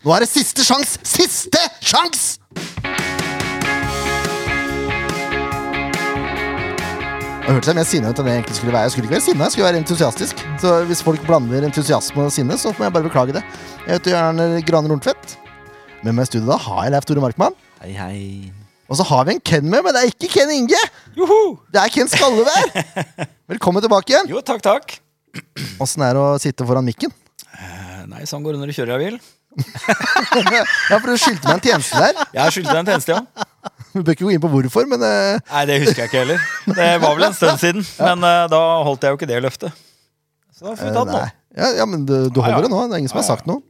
Nå er det siste sjans! Siste sjans! Jeg hørte seg mer sinne ut enn det jeg egentlig skulle være. Jeg skulle ikke være sinne, jeg skulle være entusiastisk. Så hvis folk blander entusiasme og sinne, så må jeg bare beklage det. Jeg heter Jørn Graner Horntvedt. Med meg i studio da har jeg Leif Tore Markmann. Hei, hei. Og så har vi en Ken med, men det er ikke Ken Inge! Joho! Det er Ken Skalle der! Velkommen tilbake igjen. Jo, takk, takk. Åssen er det å sitte foran mikken? Eh, Nei, sånn går det når du kjører av bil. Ja, for du skyldte meg en tjeneste der. Jeg skyldte deg en tjeneste, ja. Vi bør ikke gå inn på hvorfor, men eh, Nei, det husker jeg ikke heller. Det var vel en stund siden, men eh, da holdt jeg jo ikke det løftet. Eh, Så da får vi ta det nå. Eh, Nei. Ja, ja, men du, du Ja, holder ja. det nå. Det er ingen som har sagt noe.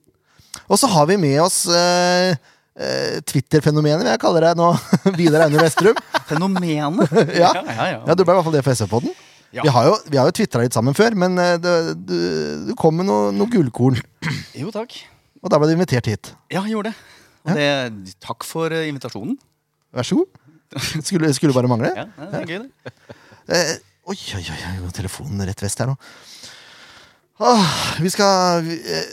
Og så har vi med oss eh, eh, Twitter-fenomenet, vil jeg kalle deg nå. Vidar Aune Vestrum. Fenomenet. Ja. ja, ja. ja, du ble i hvert fall det for SF-podden. Ja. Vi har jo, vi har jo tvitra litt sammen før, men eh, det- du, du kom med noe, noe gullkorn. Jo, takk. Og da ble du invitert hit. Ja, jeg gjorde det. Og det. Takk for eh, invitasjonen. Vær så god. Skulle, skulle bare mangle. Ja, det er gøy, det. Eh, oi, oi, oi, oi, nå er telefonen rett vest her nå. Åh, vi skal vi, eh,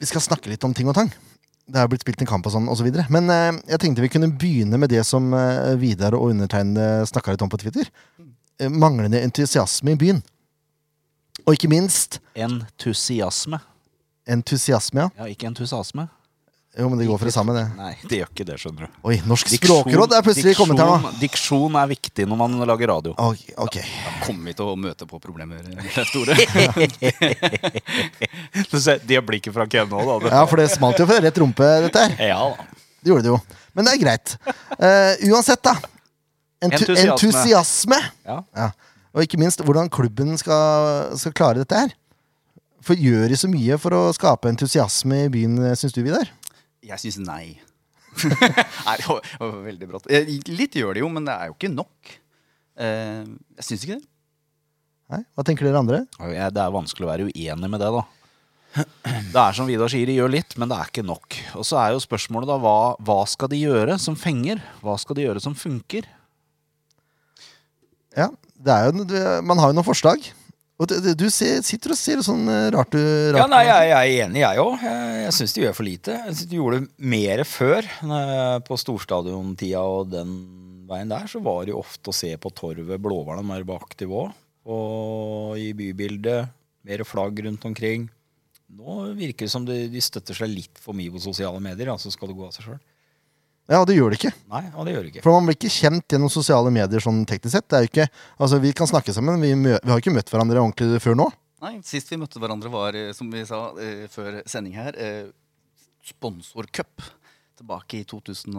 vi skal snakke litt om ting og tang. Det er jo blitt spilt en kamp og sånn, og så videre. Men eh, jeg tenkte vi kunne begynne med det som eh, Vidar og undertegnede snakka litt om på Twitter. Eh, manglende entusiasme i byen. Og ikke minst Entusiasme. entusiasme, ja. Ja, ikke entusiasme. Jo, men det går for det samme, det. Nei, det gjør ikke det, skjønner du. Oi, Norsk Diksjon- språkråd er plutselig kommet her nå. diksjon- Diksjon er viktig når man lager radio. Ok, ok. Kommer vi til å møte på problemer? Leif Tore? Du ser, De har blikket fra Ken nå, da. Ja, for det smalt jo fra rett rumpe, dette her. Ja da. Det gjorde det jo. Men det er greit. Eh, uansett, da. Entu entusiasme. Entusiasme. Ja. Ja. Og ikke minst hvordan klubben skal, skal klare dette her. For gjør de så mye for å skape entusiasme i byen, syns du, Vidar? Jeg syns nei. nei, det var, det var veldig brått. Eh, Litt gjør det jo, men det er jo ikke nok. Eh, jeg syns ikke det. Nei? Hva tenker dere andre? Ja, Det er vanskelig å være uenig med det, da. Det er som Vidar sier, de gjør litt, men det er ikke nok. Og så er jo spørsmålet da hva, hva skal de gjøre som fenger? Hva skal de gjøre som funker? Ja, det er jo, det- man har jo noen forslag. Og du, du ser, sitter og ser sånn eh, rart du rart. Ja, nei, jeg, jeg er enig, jeg òg. Jeg, jeg syns de gjør for lite. Jeg synes de gjorde mer før. eh, På storstadiontida og den veien der, så var det jo ofte å se på torvet Blåhval og mer aktiv òg. Og i bybildet. Mer flagg rundt omkring. Nå virker det som de, de støtter seg litt for mye på sosiale medier. Altså skal det gå av seg sjøl. ja, og det gjør det ikke. Nei, og det gjør det ikke. For man blir ikke kjent gjennom sosiale medier sånn teknisk sett. Det er jo ikke, altså, vi kan snakke sammen, vi, mø vi har ikke møtt hverandre ordentlig før nå. Nei, Sist vi møtte hverandre, var eh, som vi sa eh, før sending her, eh, sponsorcup. Tilbake i 2012,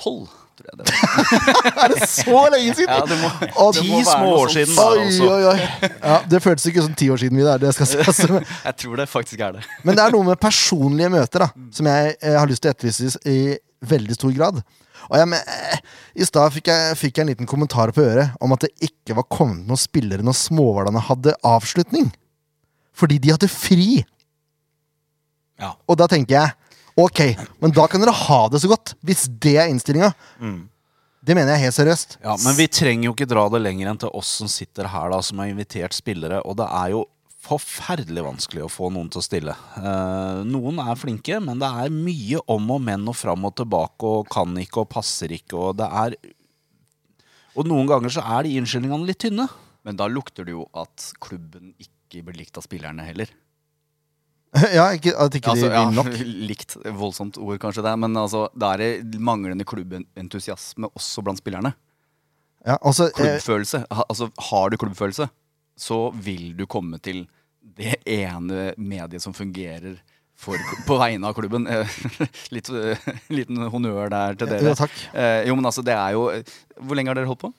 tror jeg det var. Er det så lenge siden? Ja, det må, Og det ti må være små noe sånt. år siden. Oi, altså. oi, oi. Ja, det føltes ikke som ti år siden. Vidar, det skal sies. Jeg tror det faktisk er det. Men det er noe med personlige møter da, som jeg, eh, har lyst til å etterlyse i veldig stor grad. Og jeg, men, eh, I stad fikk, jeg- fikk jeg en liten kommentar på øret om at det ikke var kommet noen spillere når Småhvalene hadde avslutning. Fordi de hadde fri. Ja. Og da tenker jeg ok, men da kan dere ha det så godt. Hvis det er innstillinga. Mm. Det mener jeg helt seriøst. Ja, Men vi trenger jo ikke dra det lenger enn til oss som sitter her, da, som har invitert spillere. Og det er jo forferdelig vanskelig å få noen til å stille. Eh, noen er flinke, men det er mye om og men og fram og tilbake og kan ikke og passer ikke og det er Og noen ganger så er de innskyldningene litt tynne. Men da lukter det jo at klubben ikke blir likt av spillerne heller. Ja, ikke, at ikke de Altså, ja, vil nok. likt voldsomt ord, kanskje det, men altså, da er det manglende klubbentusiasme også blant spillerne. Ja, også, eh, Klubbfølelse. Ha, altså, har du klubbfølelse, så vil du komme til det ene mediet som fungerer for, på vegne av klubben. Eh, Litt, eh, liten honnør der til jo, dere. takk. Eh, Jo, men altså, det er jo Hvor lenge har dere holdt på?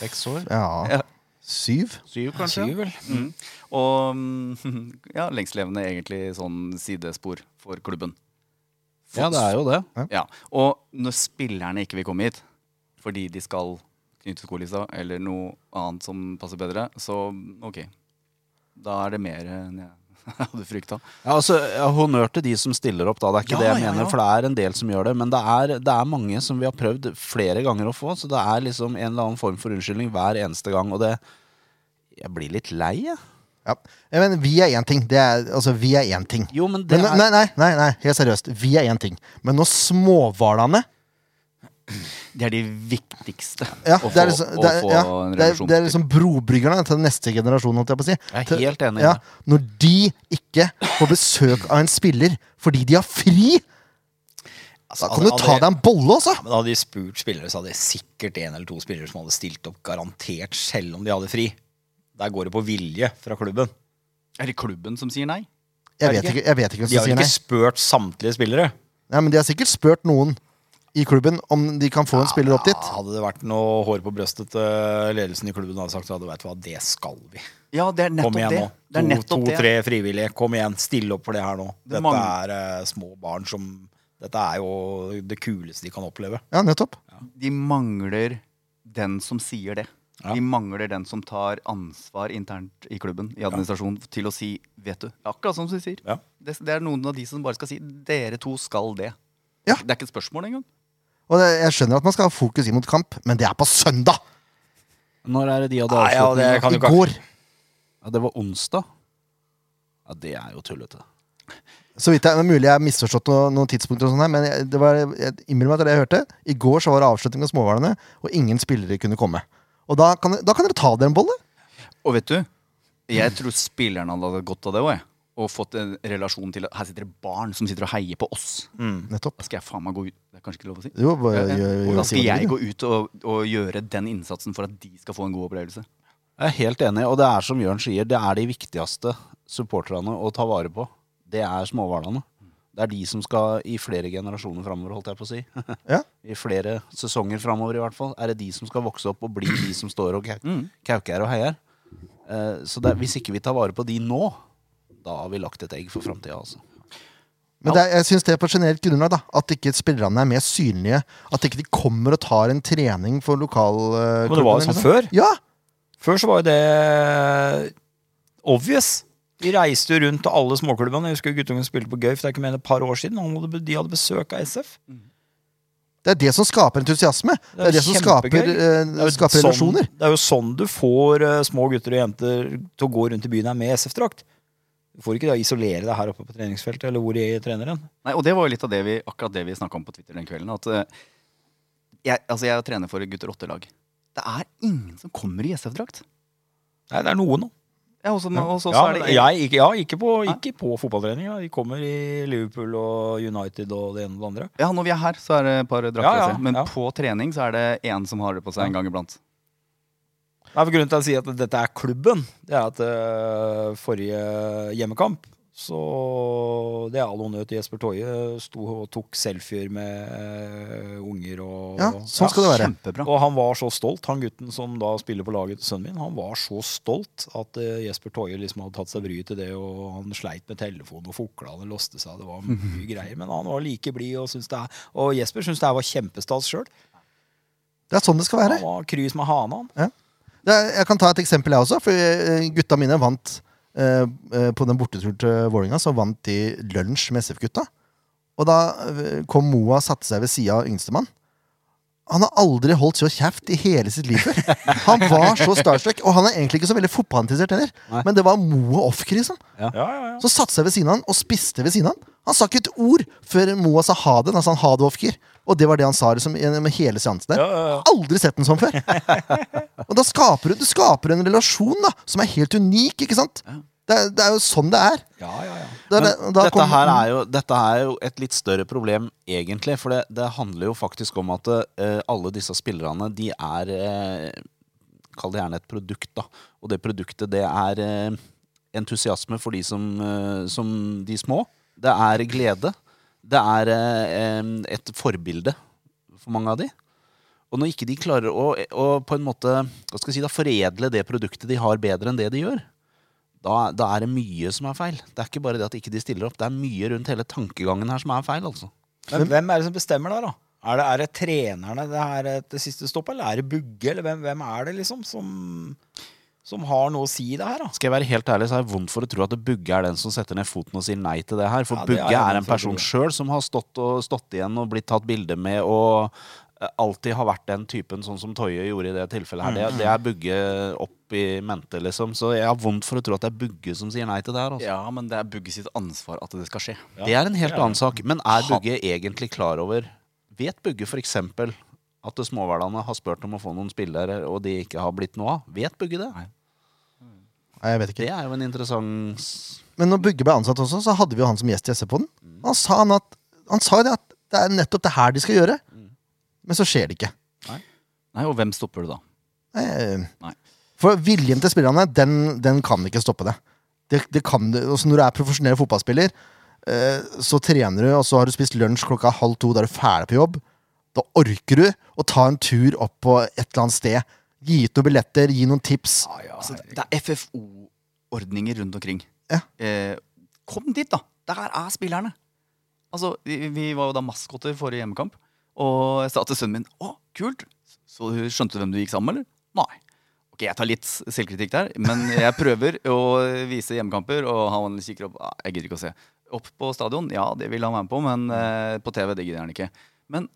Seks år? Ja. Ja. Syv? Syv, kanskje? Syv, vel? Og mm, ja, lengstlevende egentlig sånn sidespor for klubben. Ja, det er jo det. Ja, Og når spillerne ikke vil komme hit fordi de skal knytte skolissa eller noe annet som passer bedre, så ok. Da er det mer enn jeg hadde frykta. Ja, altså, ja, Honnør til de som stiller opp, da. Det er ikke Ja, det jeg ja, mener, ja. for det er en del som gjør det. Men det er, det er mange som vi har prøvd flere ganger å få, så det er liksom en eller annen form for unnskyldning hver eneste gang. Og det Jeg blir litt lei, jeg. Ja. Eh, Men vi er én ting. Det er, altså, vi er én ting. Jo, men det Men, er nei, nei, nei, nei, helt seriøst. Vi er én ting. Men når småhvalene Det er de viktigste ja, å få, det, er liksom, å det, er, få ja, en det, er, revolusjon det er liksom brobryggerne til neste generasjon, holdt jeg på å si. Jeg er Til- helt enig i Ja, det. når de ikke får besøk av en spiller fordi de har fri, da kan du ta deg en bolle, altså! Altså, Men hadde de spurt spillere, så hadde det sikkert en eller to spillere som hadde stilt opp garantert, selv om de hadde fri. Der går det på vilje fra klubben. Er det klubben som sier nei? Jeg vet ikke, jeg vet ikke hvem som De har jo sier nei. ikke spurt samtlige spillere. nei. Men de har sikkert spurt noen i klubben om de kan få en spiller opp dit. Ja, hadde det vært noe hår på brøstet til ledelsen i klubben, hadde sagt at vet du hva, det skal vi. Ja, det er Kom nettopp igjen det. nå. Det er nettopp det. To-tre frivillige. Kom igjen, stille opp for det her nå. Det Dette mangler- er eh, små barn som Dette er jo det kuleste de kan oppleve. Ja, nettopp. De mangler den som sier det. Ja. De mangler den som tar ansvar internt i klubben i administrasjonen til å si 'vet du'. Akkurat sånn som du sier. Ja. Det, det er noen av de som bare skal si 'dere to skal det'. Ja. Det er ikke et spørsmål engang. Og det, jeg skjønner at man skal ha fokus inn mot kamp, men det er på søndag! Når er det de hadde Nei, ja, avslutning? det da? kan I du ikke går. Ja, det var onsdag. Ja, det er jo tullete. Så vidt jeg, det er Mulig jeg har misforstått noen, noen tidspunkter, og sånn her, men jeg, det var, jeg innrømmer at det jeg hørte. I går så var det avslutning av Småhvalene, og ingen spillere kunne komme. Og da kan, da kan dere ta dere en bolle. Og vet du, jeg tror spillerne hadde hatt godt av det òg, jeg. Og fått en relasjon til at her sitter det barn som sitter og heier på oss. Mm. Nettopp. Da skal jeg faen meg gå ut. Det er kanskje ikke lov å si. Jo, bare, Ja, ja. gjør- gjør- Og da gjør skal det du jeg vil. gå ut og, og gjøre den innsatsen for at de skal få en god opplevelse. Jeg er helt enig, og det er som Jørn sier, det er de viktigste supporterne å ta vare på. Det er småhvalene. Det er de som skal i flere generasjoner framover, holdt jeg på å si. Ja. I flere sesonger framover, i hvert fall. Er det de som skal vokse opp og bli de som står og kau- kauker og heier. Eh, Så det, er- hvis ikke vi tar vare på de nå, da har vi lagt et egg for framtida, altså. Men det, er- jeg syns det er på generelt grunnlag da at ikke spillerne er mer synlige. At ikke de kommer og tar en trening for lokal eh, Men det var klubben, jo sånn liksom. før. Ja! Før så var jo det eh, obvious. De reiste jo rundt til alle småklubbene. Jeg husker guttungen spilte på Gøyf, det er ikke mer enn et par år siden. Han hadde, de hadde besøk av SF. Det er det som skaper entusiasme. Det er det som skaper, kjempegøy. eh, Det er jo skaper sånn- relasjoner. Det er jo sånn du får eh, små gutter og jenter til å gå rundt i byen her med SF-drakt. Du får ikke da isolere deg her oppe på treningsfeltet, eller hvor de trener hen. Nei, og det var jo litt av det vi, akkurat det vi snakka om på Twitter den kvelden. At eh, jeg, altså jeg trener for gutter åtte-lag. Det er ingen som kommer i SF-drakt. Nei, det er noen, da. Ja, og så- og så- Ja, så er det men jeg, ikke, ja ikke, på, Nei. ikke på fotballtrening. da. De kommer i Liverpool og United og det ene og det andre. ja, når vi er her, så er det et par drakter Ja, ja, å se. Men ja. på trening så er det én som har det på seg en gang iblant. Nei, for grunnen til å si at dette er klubben, det er at eh, forrige hjemmekamp så det er all honnør til Jesper Toje. Sto og tok selfier med eh, unger og Ja, sånn skal det være. Kjempebra. Og han var så stolt, han gutten som da spiller på laget til sønnen min, han var så stolt at eh, Jesper Toje liksom hadde tatt seg bryet til det, og han sleit med telefonen og fukla, han låste seg, det var mye greier. Men han var like blid, og, syntes det er- og Jesper syntes det her var kjempestas sjøl. Det er sånn det skal være. Han var krys med hana, han. Det er, jeg kan ta et eksempel, jeg også. For eh, gutta mine vant eh, eh, på den borteturen til Vålinga, så vant de lunsj med SF-gutta. Og da eh, kom Moa og satte seg ved sida av yngstemann. Han har aldri holdt så kjeft i hele sitt liv før. Han var så starstruck. Og han er egentlig ikke så veldig fotballinteressert heller. Nei. Men det var Moa Ofker, liksom. Ja, ja, ja. Så satte seg ved siden av han og spiste ved siden av han. Han sa ikke et ord før Moa sa ha det. Da sa han ha det, Ofker. Og det var det han sa liksom, gjennom hele seansen der. Ja, ja, ja. Aldri sett den sånn før. Og da skaper du, du skaper en relasjon da som er helt unik, ikke sant? Det er, det er jo sånn det er. ja, ja, ja. Det er Men det- da Mm. dette, kom- her er jo, dette er jo et litt større problem, egentlig. For det, det handler jo faktisk om at eh, alle disse spillerne, de er eh, Kall det gjerne et produkt, da. Og det produktet, det er eh, entusiasme for de som, eh, som de små. Det er glede. Det er eh, em, et forbilde for mange av de. Og når ikke de klarer å, å på en måte, hva skal jeg si da, foredle det produktet de har, bedre enn det de gjør, da, da er det mye som er feil. Det er ikke bare det at ikke de stiller opp. Det er mye rundt hele tankegangen her som er feil, altså. Men hvem er det som bestemmer der, da? Er det, er det trenerne det er et siste stopp, eller er det Bugge, eller hvem, hvem er det liksom som, som har noe å si i det her, da? Skal jeg være helt ærlig, så har jeg vondt for å tro at Bugge er den som setter ned foten og sier nei til det her. For Ja, det er Bugge jeg er vondt en for å person tro. sjøl som har stått, og, stått igjen og blitt tatt bilde med og eh, alltid har vært den typen, sånn som Toye gjorde i det tilfellet her. Mm. Det, det er Bugge opp i mente, liksom. Så jeg har vondt for å tro at det er Bugge som sier nei til det her. Altså. Ja, men det er Bugge sitt ansvar at det skal skje. Det er en helt annen sak. Men er Bugge egentlig klar over Vet Bugge f.eks. at det småhverdagene har spurt om å få noen spillere, og de ikke har blitt noe av? Vet Bugge det? Nei, jeg vet ikke. Det er jo en interessant s- Men når Bugge ble ansatt også, så hadde vi jo han som gjest i SV-poden. Mm. Han sa han at Han sa jo det at det er nettopp det her de skal gjøre. Mm. Men så skjer det ikke. Nei, Og hvem stopper du da? Eh, Nei. For viljen til spillerne, den, den kan ikke stoppe det. det, det, kan det. Også når du er profesjonell fotballspiller, eh, så trener du, og så har du spist lunsj klokka halv to, da er du ferdig på jobb. Da orker du å ta en tur opp på et eller annet sted. Gi ut noen billetter, gi noen tips. Altså, det er FFO-ordninger rundt omkring. Ja. Eh, kom dit, da! Der er spillerne. Altså, vi, vi var jo da maskoter forrige hjemmekamp, og jeg sa til sønnen min Å, kult! Så du skjønte du hvem du gikk sammen med, eller? Nei. Ok, jeg tar litt selvkritikk der, men jeg prøver å vise hjemmekamper, og han kikker opp «Ah, Jeg gidder ikke å se. Opp på stadion, ja, det vil han være med på, men eh, på TV, det gidder han ikke. Men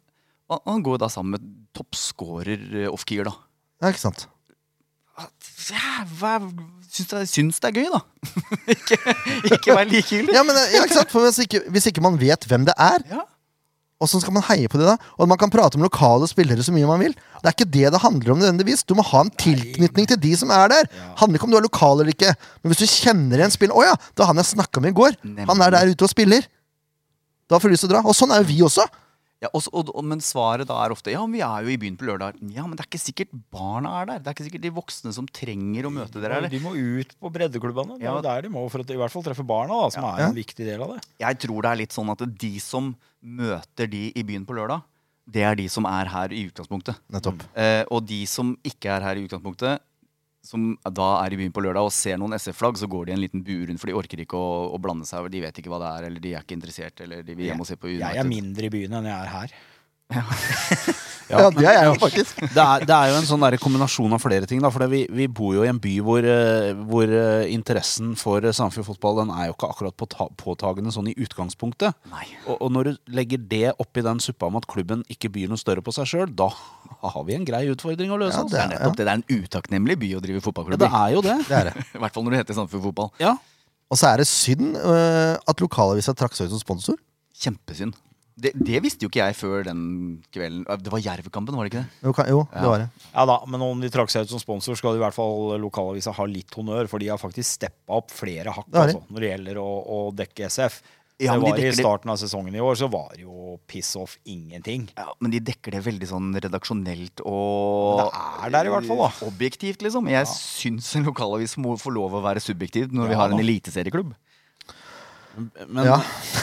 han, han går jo da sammen med toppscorer eh, off-keer, da Ja, ikke sant? at, ja, hva, syns, det, syns det er gøy, da. ikke, ikke vær likegyldig. Ja, men, eh, ja, ikke sant? For hvis ikke, hvis ikke man vet hvem det er, Ja. Åssen skal man heie på det da? Og man kan prate om lokale spillere så mye man vil. Det er ikke det det handler om nødvendigvis. Du må ha en tilknytning til de som er der. Handler ikke om du er lokal eller ikke. Men hvis du kjenner en spiller Å ja, det var han jeg snakka med i går. Nemlig. Han er der ute og spiller. Da får du lyst til å dra. Og sånn er jo vi også. Ja, og, så- og, og, men svaret da er ofte ja, men vi er jo i byen på lørdag. Ja, men det er ikke sikkert barna er der. Det er ikke sikkert de voksne som trenger å møte dere. Eller? De må ut på breddeklubbene. Det er Ja. jo der de må for at i hvert fall treffe barna, da, som er Ja. en viktig del av det. Jeg tror det er litt sånn at de som møter de i byen på lørdag, det er de som er her i utgangspunktet. Nettopp. Eh, og de som ikke er her i utgangspunktet, som da er i byen på lørdag og ser noen SF-flagg, så går de i en liten bue rundt, for de orker ikke å, å blande seg. De vet ikke hva det er, eller de er ikke interessert, eller de vil hjem og se på United. Jeg er mindre i byen enn jeg er her. Ja, det er jeg jo faktisk. det, er, det er jo en sånn der kombinasjon av flere ting. Da, for det, vi, vi bor jo i en by hvor, eh, hvor eh, interessen for eh, Sandefjord fotball den er jo ikke akkurat påta påtagende sånn i utgangspunktet. Nei. Og, og når du legger det oppi den suppa om at klubben ikke byr noe større på seg sjøl, da har vi en grei utfordring å løse. Ja, altså. det Det er er nettopp det. Det er en utakknemlig by å drive Ja, det fotballklubb i. er jo det. det er det. I hvert fall når det heter Sandefjord Fotball. Ja. Og så er det synd øh, at lokalavisa trakk seg ut som sponsor. Kjempesynd. Det, det visste jo ikke jeg før den kvelden. Det var Jervkampen, var det ikke det? Jo, kan- jo det var det. Ja da, Men om de trakk seg ut som sponsor, skal i hvert fall lokalavisa ha litt honnør. For de har faktisk steppa opp flere hakk Det har de. altså, når det gjelder å, å dekke SF. Ja, det men var de I dekker det- starten av sesongen i år så var det jo piss off ingenting. Ja, Men de dekker det veldig sånn redaksjonelt og Men det er der i hvert fall, da. Objektivt, liksom. Jeg syns en lokalavis må få lov å være subjektiv når vi Ja, har en da. eliteserieklubb. Men, Ja.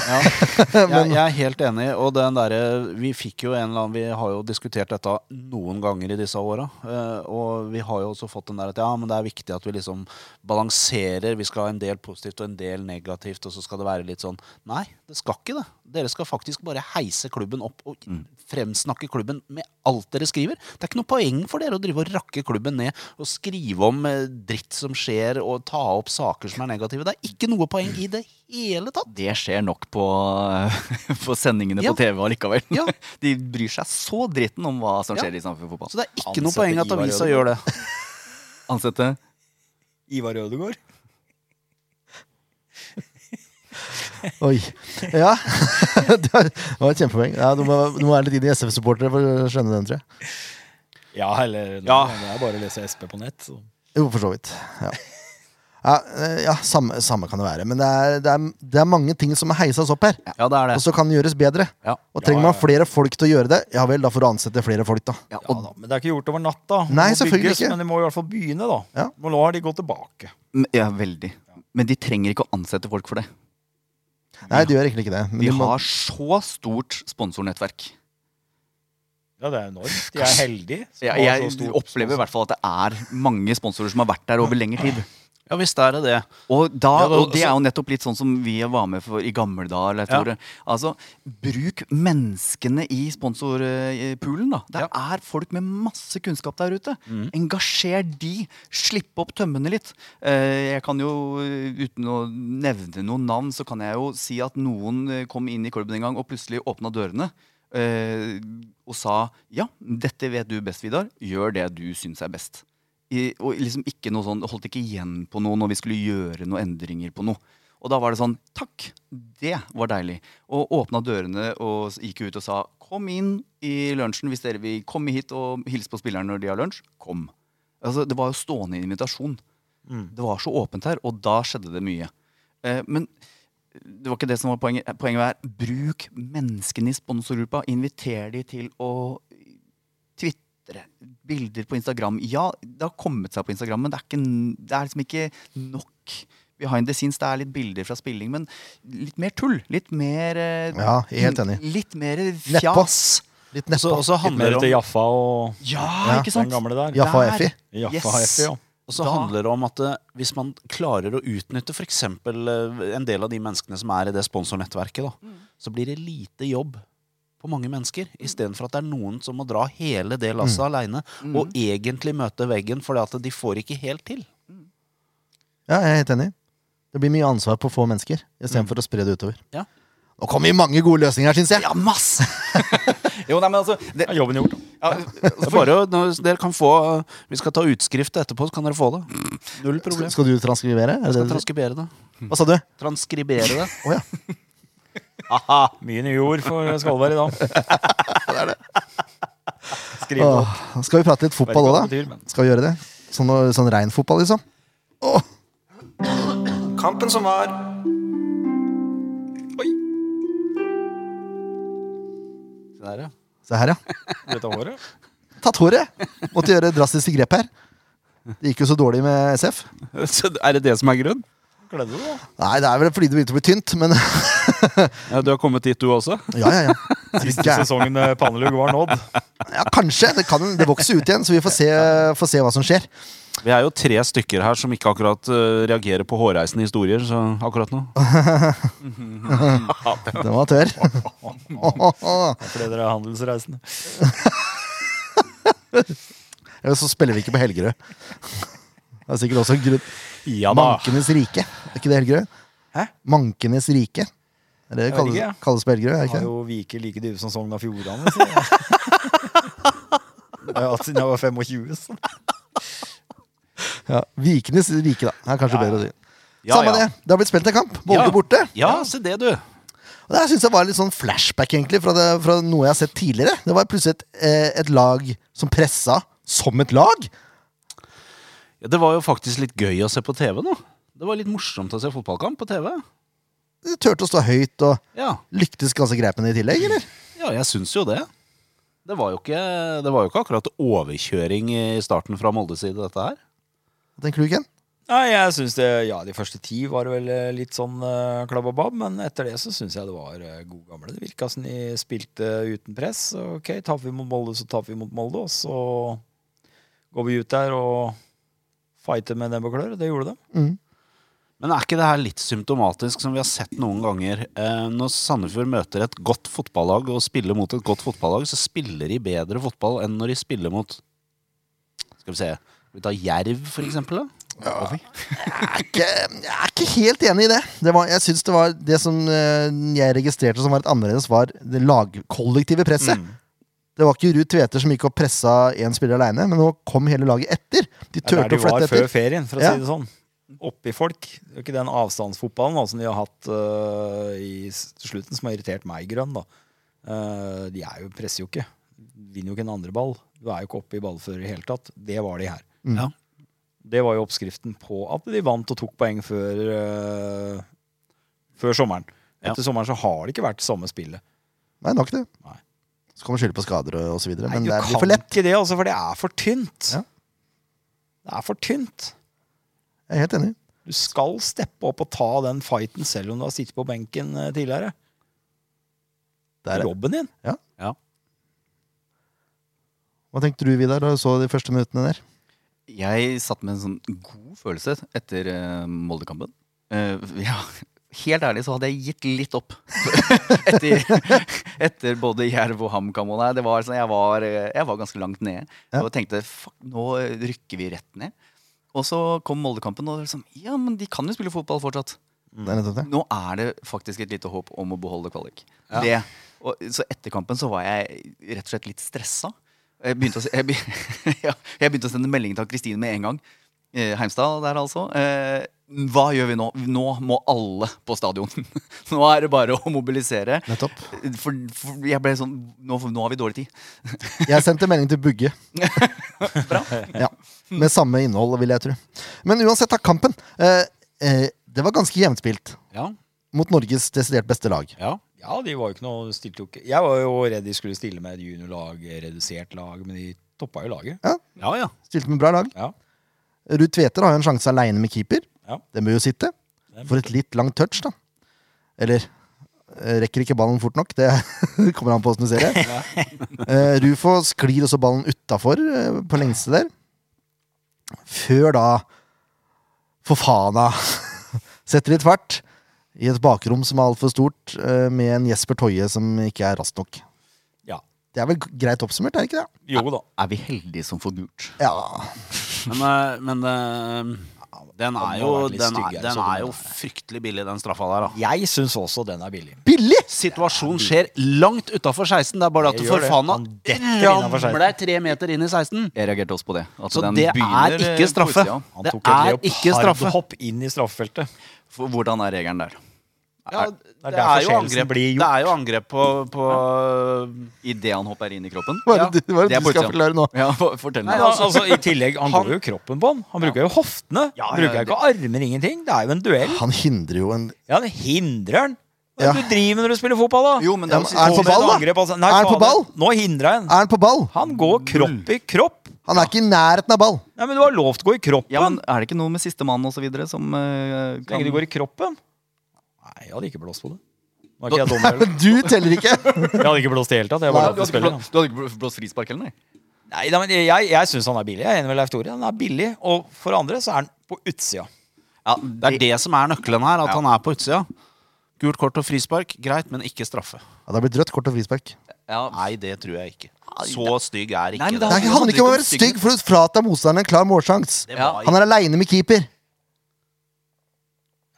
ja. Jeg, jeg er helt enig. Og den derre Vi fikk jo en eller annen Vi har jo diskutert dette noen ganger i disse åra. eh, Og vi har jo også fått den der at ja, men det er viktig at vi liksom balanserer. Vi skal ha en del positivt og en del negativt, og så skal det være litt sånn Nei, det skal ikke det. Dere skal faktisk bare heise klubben opp og fremsnakke klubben med alt dere skriver. Det er ikke noe poeng for dere å drive og rakke klubben ned og skrive om eh, dritt som skjer, og ta opp saker som er negative. Det er ikke noe poeng i det hele tatt. Det skjer nok på, på sendingene Ja. på TV allikevel. Ja. De bryr seg så dritten om hva som Ja. skjer i Sandefjord Fotball. Så det er ikke Ansette noe poeng at Ivar avisa Ødegaard. gjør det. Ansette Ivar Ødegaard. Oi. Ja. det var det var et kjempepoeng. Ja, du, må, du må være litt inn i SF-supportere for å skjønne den, tror jeg. Ja, eller Ja. Det er bare å lese SP på nett. Så. Jo, for så vidt. Ja, ja, eh, ja samme, samme kan det være. Men det er, det, er, det er mange ting som må heises opp her. Ja, det er Og så kan det gjøres bedre. Ja. Og trenger Ja, ja, man flere folk til å gjøre det, ja vel, da får du ansette flere folk, da. Ja, Ja, da, men det er ikke gjort over natta. Det Nei, må selvfølgelig ikke. Men de må i hvert fall begynne, da. Ja. Må la de gå tilbake. M- Ja, veldig. Men de trenger ikke å ansette folk for det. Nei, det gjør egentlig ikke det. Men De du må- har så stort sponsornettverk. Ja, det er enormt. De er heldige. som Jeg, har så jeg stort- opplever i hvert fall at det er mange sponsorer som har vært der over lengre tid. Ja visst er det det. Og, da, Ja, da- og det er jo nettopp litt sånn som vi var med for i gamle dager. eller jeg tror. Altså, bruk menneskene i sponsorpoolen, da. Det er folk med masse kunnskap der ute. Engasjer de. Slipp opp tømmene litt. Eh, Jeg kan jo, uten å nevne noen navn, så kan jeg jo si at noen eh, kom inn i klubben en gang og plutselig åpna dørene. eh, og sa ja, dette vet du best, Vidar. Gjør det du syns er best. I, og liksom ikke noe sånn, Holdt ikke igjen på noe når vi skulle gjøre noen endringer på noe. Og da var det sånn Takk! Det var deilig. Og åpna dørene og s- gikk ut og sa Kom inn i lunsjen hvis dere vil komme hit og hilse på spillerne når de har lunsj. Kom. Altså, det var jo stående invitasjon. Mm. Det var så åpent her, og da skjedde det mye. Eh, men det var ikke det som var poenget. Poenget var bruk menneskene i sponsorgruppa. Inviter de til å twitre. Bilder på Instagram. Ja, det har kommet seg på Instagram, men det er, ikke, n- det er liksom ikke nok. Behind the scenes, det er litt bilder fra spilling, men litt mer tull. Litt mer eh, Ja, helt enig. Litt mer Nedpå. fjas. Litt Og så- nedpå. og så Litt mer handler det til om, Jaffa og Ja, ikke den sant? gamle der. Jaffa og Der. Effi. Jaffa Yes. og Effi, ja. og så Da- handler det om at eh, hvis man klarer å utnytte f.eks. en del av de menneskene som er i det sponsornettverket, Mm. da, så blir det lite jobb på mange mennesker. Istedenfor at det er noen som må dra hele det lasset alene Mm. aleine og egentlig møte veggen fordi at de får ikke helt til. Ja, jeg er helt enig. Det blir mye ansvar på få mennesker istedenfor å spre det utover. Mm. Ja. Nå kommer vi mange gode løsninger her, syns jeg! Ja, masse! jo, nei, men altså det, Ja, jobben gjort, da. ja, Det er bare, å- når dere kan få, eh, vi skal ta utskrift etterpå, så kan dere få det. Null problem. Skal du transkribere? Er det Skal det du- transkribere det. Hva sa du? Transkribere det. Å ja. Mye nye ord for Skalberg i dag. Skriv det opp. Åh, Skal vi prate litt fotball òg, Vet ikke hva da? det betyr, men- Skal vi gjøre det? Sånn, sånn rein fotball, liksom? Kampen som var. Se der, ja. Se her, ja. Dette håret. Tatt håret! Måtte gjøre drastiske grep her. Det gikk jo så dårlig med SF. Så er det det som er grunnen? Kledde du, da? Nei, det er vel fordi det begynte å bli tynt, men Ja, du har kommet dit, du også? Ja, ja, ja. Er du Siste gæren? sesongen eh, pannelugg var nådd. Ja, kanskje. Det, kan, det vokser ut igjen, så vi får se, får se hva som skjer. Vi er jo tre stykker her som ikke akkurat eh, reagerer på hårreisende historier så akkurat nå. Den var tørr. Fordi dere er handelsreisende. Eller så spiller vi ikke på Helgerød. Det er sikkert også en grunn. Ja Mankenes rike. Er ikke det Helgerød? Hæ? Mankenes rike. Er det det Jeg vet kalles, ikke, ja. kalles på Helgerød? Er det Har ikke det? jo Vike like dype som Sogn og Fjordane, sier jeg. Det har jeg hatt siden jeg var 25. Så. Ja. Vikenes rike, da. Det er kanskje bedre å si. Ja, Samme ja. det. Det har blitt spilt en kamp. Molde Ja. borte. Ja, se det, du. Og Det her synes jeg var litt sånn flashback egentlig fra, det, fra noe jeg har sett tidligere. Det var plutselig et, eh, et lag som pressa som et lag. Ja, Det var jo faktisk litt gøy å se på TV nå. Det var litt morsomt å se fotballkamp på TV. De turte å stå høyt og Ja, lyktes ganske greit med det i tillegg, eller? ja jeg syns jo det. Det var jo, ikke, det var jo ikke akkurat overkjøring i starten fra Moldes side, dette her. Hva tenker du, Ken? Nei, jeg synes det, ja, De første ti var vel eh, litt sånn eh, klabbabab, men etter det så syns jeg det var eh, god gamle. Det virka som de spilte uten press. Ok, taper vi mot Molde, så taper vi mot Molde. Og så går vi ut der og fighter med nebb og klør. Det gjorde de. Men er ikke det her litt symptomatisk, som vi har sett noen ganger? Eh, når Sandefjord møter et godt fotballag og spiller mot et godt fotballag, så spiller de bedre fotball enn når de spiller mot Skal vi se Skal vi ta Jerv, for eksempel? Da? Jeg er ikke, jeg er ikke helt enig i det. Det, var, jeg synes det, var det som eh, jeg registrerte som var litt annerledes, var det lagkollektive presset. Mm. Det var ikke Ruud Tveter som gikk og pressa én spiller aleine, men nå kom hele laget etter. De Det er turte der å de var flytte før etter. ferien, for å Ja. si det sånn. Oppi folk. Det er jo ikke den avstandsfotballen da, som de har hatt øh, i s- til slutten, som har irritert meg grønn. da. Eh, de er jo, presser jo ikke. Vinner jo ikke en andre ball. Du er jo ikke oppe i ballfører i hele tatt. Det var de her. Mm. Ja. Det var jo oppskriften på at de vant og tok poeng før, øh, før sommeren. Ja. Etter sommeren så har det ikke vært samme spillet. Nei, nok det. Nei. Så kan man skylde på skader og, og så videre, Nei, men du det kan blir for lett. ikke det, altså, for det er for tynt. Ja. Det er for tynt. Jeg er helt enig. Du skal steppe opp og ta den fighten selv om du har sittet på benken eh, tidligere. Det Der er- er jobben din. Hva tenkte du, Vidar, da du så de første minuttene der? Jeg satt med en sånn god følelse etter eh, Molde-kampen. Eh, ja, helt ærlig så hadde jeg gitt litt opp etter, etter både Jerv og HamKam. og nei, det var sånn, Jeg var, eh, jeg var ganske langt nede Ja. og tenkte fuck, nå rykker vi rett ned. Og så kom Molde-kampen, og det var liksom, ja, men de kan jo Mm. spille fotball fortsatt. Det er nettopp det. Nå er det faktisk et lite håp om å beholde kvalik. Det, Og, så etter kampen så var jeg rett og slett litt stressa. Jeg begynte å, se- jeg be- ja, jeg begynte å sende melding til Kristine med en gang. Eh, Heimstad der, altså. Eh, hva gjør vi nå? Nå må alle på stadion. nå er det bare å mobilisere. Nettopp. For, for jeg ble sånn nå, nå har vi dårlig tid. Jeg sendte melding til Bugge. Ja, med samme innhold, vil jeg tro. Men uansett, da, kampen. Eh, eh, det var ganske jevnt spilt Ja, mot Norges desidert beste lag. ja. Ja, de var jo ikke noe stilte jo ikke. Jeg var jo redd de skulle stille med et juniorlag, eh, redusert lag, men de toppa jo laget. ja, ja. Stilte med bra lag. Ja. Ruud Tveter har jo en sjanse aleine med keeper. Ja. Den bør jo sitte. For et litt langt touch, da. Eller eh, rekker ikke ballen fort nok. Det kommer an på åssen du ser det. Eh, Rufo sklir også ballen utafor eh, på lengste der. Før da Fofana setter litt fart i et bakrom som er altfor stort, eh, med en Jesper Toje som ikke er rask nok. Ja. Det er vel greit oppsummert, er det ikke det? Jo da. Er vi heldige som får gult? Ja. Men, eh, men eh, den må er jo være litt Den er, styggere, så den den er jo er- fryktelig billig, den straffa der, da. Jeg syns også den er billig. Billig! Situasjonen skjer langt utafor 16. Det er bare det Det at gjør det. Forfana Han detter innenfor 16. ramler tre meter inn i 16. Jeg reagerte også på det. at Så den det er begynner, eh, ikke på straffe. utsida. Han Det tok er et ikke straffe. leopardhopp inn i straffefeltet. For Hvordan er regelen der? Ja, er det, derfor er jo skjellelsen angrep, blir gjort. det er jo angrep på, på Idet han hopper inn i kroppen? Hva er Ja, det, du- hva er det det er du skal politiet. forklare nå? Ja, for, fortell Nei, meg. Men altså- altså, I tillegg, Han går jo kroppen på han. Han bruker jo hoftene. ja, bruker ja, jo ikke armer, ingenting. Det er jo en duell. Han hindrer jo en Ja, det hindrer han. Hva Ja. er det du driver med når du spiller fotball, da? Jo, men det er Ja, men jo er siste- på Kommer ball, da? et angrep, altså. Nei, Er han på fader, ball? Nå hindrer han. Er han på ball? Han går kropp i kropp. Han er ikke i nærheten av ball. Nei, men du har lov til å gå i kroppen. ja, men Er det ikke noe med sistemann osv. som eh, Så lenge kan du går i kroppen. Nei, jeg hadde ikke blåst på det. Nå er ikke jeg dommer heller. Men du teller ikke! Jeg hadde ikke blåst i det hele tatt. Jeg Nei, du var lov til å spille. da. Du hadde ikke blå- blåst frispark heller, nei? Nei, da, men jeg, jeg syns han er billig. Jeg er enig med Leif Tore. Han er billig. Og for andre så er han på utsida. Det er det som er nøkkelen her, at Ja. han er på utsida. Gult kort og frispark, greit, men ikke straffe. Ja, det har blitt rødt kort og frispark. Ja, Nei, det tror jeg ikke. Nei, Så stygg Nei, er ikke men det. Det handler handler ikke om å om være stygg for å frata motstanderen en klar målsjanse. det Ja. var, Han er aleine med keeper.